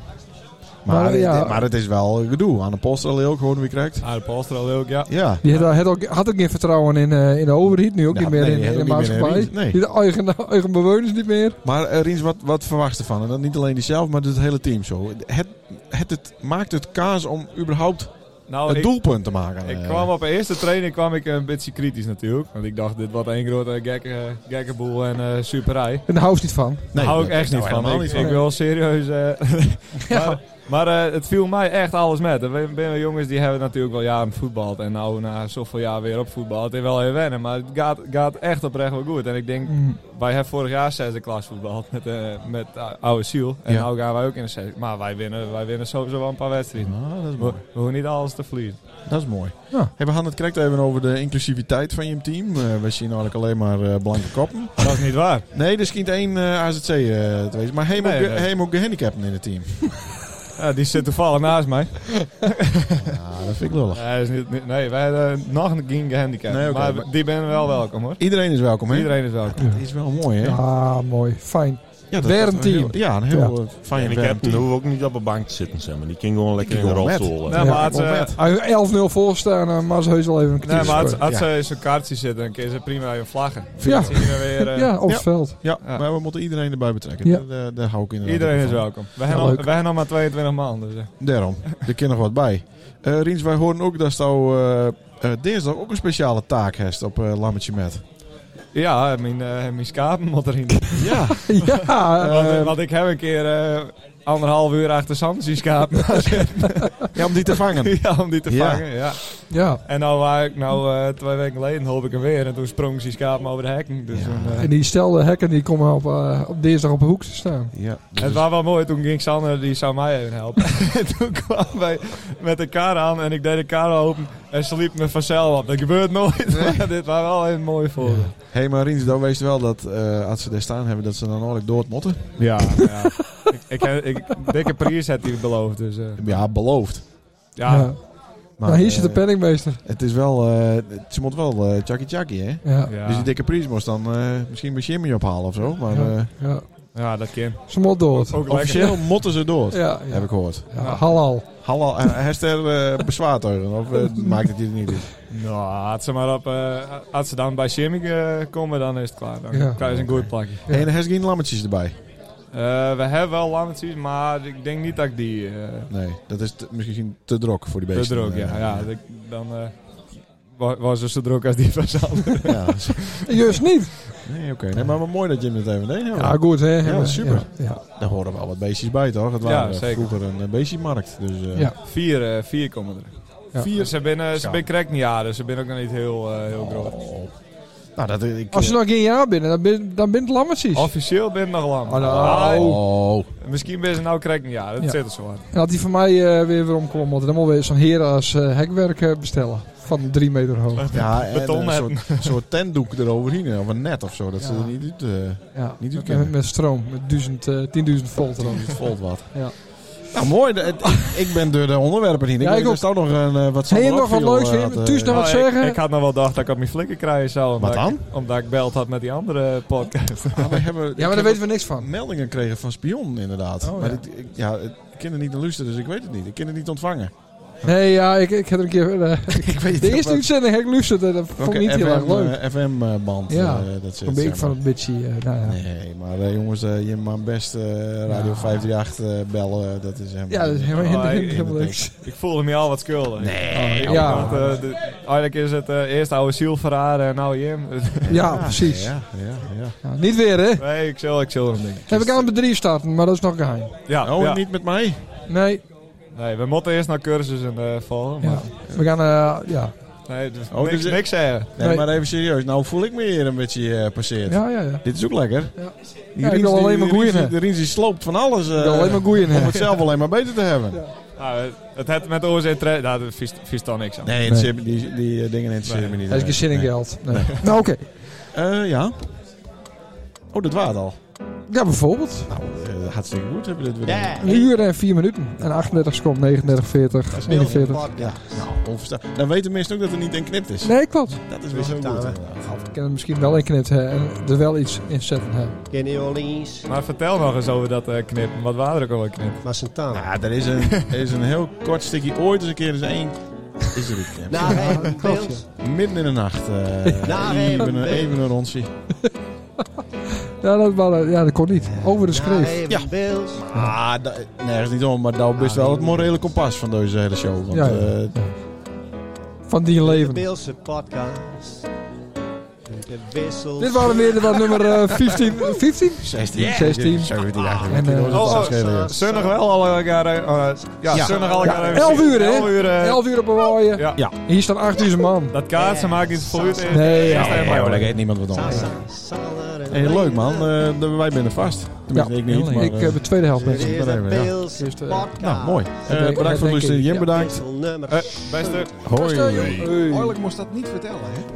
maar,
maar,
eh,
ja.
dit- maar het is wel gedoe. Aan de post al heel gewoon wie krijgt.
Ah, de Polster al leuk, ja.
Ja.
Die had, had ook, had ook geen vertrouwen in, eh, in de overheid, nu ook
Nou,
niet meer
nee,
in,
die had
in de
ook niet meer in
maatschappij.
Ries, nee.
Die de eigen, eigen bewoners niet meer.
Maar eh, Riens, wat, wat verwacht je ervan? En dat niet alleen die zelf, maar dus het hele team zo. Het, het, het, maakt het kaas om überhaupt
Nou,
het
ik-
doelpunt te maken?
Ik
eh.
kwam op de eerste training kwam ik een beetje kritisch natuurlijk. Want ik dacht, dit wordt één grote gekke, gekke boel en eh, superij.
En daar hou ze niet van.
Nee,
Daar hou ik
dat
echt
is
niet
nou
van.
helemaal
Ik,
niet
ik wil serieus... eh, maar maar eh, het viel mij echt alles met. Er zijn zijn wel jongens die hebben natuurlijk wel jaren voetbald. En nou na zoveel jaar weer op voetbal. Het is wel heel wennen. Maar het gaat, gaat echt oprecht wel goed. En ik denk,
Mm.
wij hebben vorig jaar zesde klas voetbald met, eh, met eh, oude Siel. En
Ja.
nou gaan wij ook in de zesde. Maar wij winnen, wij winnen sowieso wel een paar wedstrijden.
Ah, dat is
We,
mooi.
we hoeven niet alles te verliezen.
Dat is mooi.
Ja.
Hey, we hadden het correct even over de inclusiviteit van je team. Eh, we zien eigenlijk alleen maar eh, blanke koppen.
Dat is niet waar.
Nee, er schijnt één eh, AZC eh, te wezen. Maar helemaal
Nee,
ge-
nee.
helemaal gehandicapten in het team.
Ja, die zit toevallig naast mij.
Ja, dat vind ik lullig.
Nee, is niet, niet- nee wij hebben nog een geen gehandicapt.
Nee, oké,
maar,
maar-
die ben wel welkom hoor.
Iedereen is welkom, hè?
Iedereen is welkom.
Dat is wel mooi, hè?
Ah, mooi. Fijn.
Ja,
Weer een team.
heel- ja, een heel eh, fijn
En ik
werend
heb, dan
team.
hoeven we ook niet op een bank te zitten, zeg maar. Die ging gewoon lekker
Die
in de
ging gewoon
rolstoel.
Nou,
Ja,
maar als,
kom
eh,
met.
Hij 11-0 volstaan, eh, maar ze heus wel even een
nee,
kwartier
maar als,
scoren.
als ze in zo'n kaartje zitten, dan kun ze prima even vlaggen.
Ja.
Dan zien we weer, eh,
Ja, op het
Ja.
veld.
Ja,
Ja.
maar we moeten iedereen erbij betrekken.
Ja.
Daar- Daar, daar hou ik inderdaad
Iedereen
ook
is
van.
welkom. We
Ja,
hebben
leuk.
nog, nog maar 22 man. Dus, eh.
Daarom, er kan nog wat bij. Eh Riens, wij horen ook dat jou eh, eh, dinsdag ook een speciale taak hebt op eh, Lammetje Met.
Ja, mijn, eh mijn schapen moet erin.
Ja.
ja,
want,
eh,
eh, want ik heb een keer eh, anderhalf uur achter Sam zien schapen.
ja, om die te vangen.
ja, om die te
Ja.
vangen. Ja.
ja.
En nou, waar ik, nou eh, twee weken geleden hoop ik hem weer. En toen sprong die schapen over de hekken. Dus
Ja.
toen, eh,
En die stelde hekken die komen op, eh, op dinsdag op de hoek te staan.
Ja, dus
Het
is-
was wel mooi, toen ging Sander, die zou mij even helpen. En toen kwamen wij met de kar aan en ik deed de kar open en ze liep me vanzelf op. Dat gebeurt nooit, maar dit was wel een mooi voorbeeld.
hey, maar Riens, dan wees wel dat eh, als ze daar staan hebben, dat ze dan oorlijk door het motten.
Ja, ja. ik, ik, heb- ik, dikke prijs had hij beloofd, dus eh,
Ja, beloofd.
ja.
Ja.
Maar
nou, hier
eh,
zit de penningmeester.
Het is wel, eh, ze moet wel eh tjaki tjaki, hè?
Ja,
Ja.
Dus die dikke prijs moest dan eh, misschien bij Jimmy ophalen of zo. Maar eh,
ja.
ja, dat kan.
Ze moet dood.
Ook lekker.
officieel motten ze door,
Ja,
heb
ja.
ik gehoord.
ja halal.
Hallo, eh, heeft er eh, bezwaar tegen? Of eh, maakt het je er niet uit?
Nou, had ze maar op, eh, had ze dan bij Jimmy eh, komen, dan is het klaar. Dan
Ja.
krijg je een goed plakje.
Ja.
En er is geen lammetjes erbij?
Eh, we hebben wel lammetjes, maar ik denk niet dat ik die... eh,
Nee, dat is te- misschien te drok voor die
Te
beesten.
druk,
Eh,
ja. ja ik- dan eh, wa- was het zo druk als die van Sander.
ja.
Juist niet.
Nee, oké. Nee, maar wat mooi dat Jim het even deed. hè?
Ja, goed hè.
Ja, super.
Ja, ja.
Daar horen wel wat beestjes bij, toch? Het
Ja,
waren eh,
zeker.
vroeger een eh, beestjesmarkt. Dus, eh,
Ja.
Vier, eh, vier komen er.
Ja.
Vier, ze binnen, ze binnen krek niet aan, dus ze binnen ook nog niet heel, eh, heel groot.
Oh. Nou, dat ik...
Als ze nog geen jaar binnen, dan ben, dan ben het lammetjes.
Officieel ben ik nog lang.
Oh, nou.
Maar, eh,
Oh.
misschien ben ze nou krek niet aan, dat
Ja.
zit er zo aan.
En had hij van mij eh, weer weer omkomen moeten, dan moet weer zo'n heren als eh, hekwerk eh, bestellen. Van drie meter hoog.
Ja, en eh,
Beton
een soort, soort tentdoek eroverheen. Of een net of zo. Dat ze
Ja.
er niet uit... eh,
Ja.
Niet
met,
uitkennen.
met stroom, met duizend, eh 10.000 volt erop.
het volt wat.
Ja.
Nou, mooi. dat- het- ik ben door de onderwerpen heen. Ik
Ja,
weet
ik
dat
ook.
er staat nog een eh, wat
Heb je
Sander
nog wat
Ockfield,
leuks?
eh,
Wim?
had, eh,
Thuis nog wat
Nou, ik-
zeggen?
Ik, had nog wel gedacht dat ik op mijn flikker krijgen zou. Omdat
Wat dan?
Ik, omdat ik beld had met die andere podcast.
ah, we hebben,
ja, maar daar weten we niks van.
meldingen gekregen van Spion, inderdaad.
Oh,
maar
ja.
dit- ik, ja, het- ik ken er niet naar luisteren, dus ik weet het niet. Ik ken het niet ontvangen.
Nee, ja, ik, ik heb er een keer... eh, de eerste
wat-
uitzending heb ik luisterd en dat vond ik
Welke
niet heel erg leuk.
eh, FM-band.
Ja,
eh, dat zit,
dan ben ik
zeg
van
maar.
het bitchy. eh, nou ja.
Nee, maar eh, jongens, eh, je mag best eh, Radio
Ja.
538 eh, bellen. eh, Dat is helemaal
Ja, dat is helemaal-
niks.
helemaal-
Oh, ik-
helemaal
ik-
niks.
Ik voelde me al wat schuldig. Oh,
Nee,
Ik-
ja.
want, eh, de- eigenlijk is het eh, eerst oude ziel verraden en nou Jim.
Ja, precies.
Ja, ja, ja.
Nou, niet weer, hè?
Nee, ik zal, ik zal hem denken.
Heb ik aan het bedrijf starten, maar dat is nog geheim.
Ja,
Oh,
ja.
niet met mij?
Nee,
Nee, we moeten eerst naar cursussen eh volgen. Maar,
ja. we gaan... eh, ja.
Nee, dus
Oh,
niks,
dus-
niks zeggen.
Nee,
Nee.
maar even serieus. Nou voel ik me hier een beetje eh, passeerd.
ja, ja, ja.
Dit is ook lekker.
Ja.
Die
Ja, ik
Riens,
wil
die-
alleen maar
die Riens,
goeien, hè.
die- De Riens die sloopt van alles. eh,
wil alleen maar goeien, hè.
Om het zelf alleen maar beter te hebben.
Nou, het- het had met ons in tre- Nou, dat vies, vies dan niks aan.
Nee, het zit- die, die eh, dingen interesseren me niet.
Hij is geen zin in
Nee.
geld. Nee. Nou, oké.
Eh, ja. Oh, dat waard al.
Ja, bijvoorbeeld.
Nou, eh, hartstikke goed hebben we dit weer.
Een uur en vier minuten. En 38 seconden, 39, 40, 41.
Ja, nou, onverstaan. Dan weten mensen ook dat er niet in knipt is.
Nee, klopt.
Dat is weer zo goed. inderdaad.
Ik kan er misschien wel in knippen hè, en er wel iets in zetten. Hè.
Kenny Orleans,
Maar vertel nog eens over dat eh, knippen. Wat waren er ook al knippen?
Massentana.
Nou, er is een, er is een heel kort stukje ooit eens een keer eens één. Is er iets?
Naar
Nou,
hem,
klopt,
Pils.
Midden in de nacht. eh,
Naar
even,
hem,
een- even een rondje.
Ja, dat, waren- ja, dat kon niet. Over de
Naar
schreef.
hem,
Ja.
Pils.
Ah, da- nergens niet om, maar dat is wel het morele kompas van deze hele show. Want, eh,
Ja,
ja,
ja. Van die
De
leven.
Bilse podcast. De wissel.
Dit waren weer de wat nummer eh, 15. 15?
16.
16.
17
En,
eigenlijk.
eh,
Ah, Dat is
oh,
het
oh,
schelen, joh.
Zonnig wel al elkaar. eh, eh, ja,
Ja.
zonnig al elkaar.
Ja,
even
11
zien.
uur, hè?
11 uur. eh,
11 uur op Hawaii.
Ja.
Ja.
Hier staan 8000 man.
Dat kaartje maakt iets voor u.
eh, Nee, ja,
Nee, joh, daar heeft niemand wat om. Hey, leuk man, Eh, dat- wij binnen vast.
Ja,
Tenminste, ik niet. Maar,
ik
eh,
heb de tweede helft
Dit
met
is de
even, ja.
Bilse
Eerst, eh,
podcast.
nou, mooi. Eh,
denk- dat
bedankt Eh, voor het
denk ik.
Eh,
luisteren. Jim
Ja.
bedankt.
Wissel nummer.
Beste.
Hoi.
Hey.
moest dat niet vertellen, hè?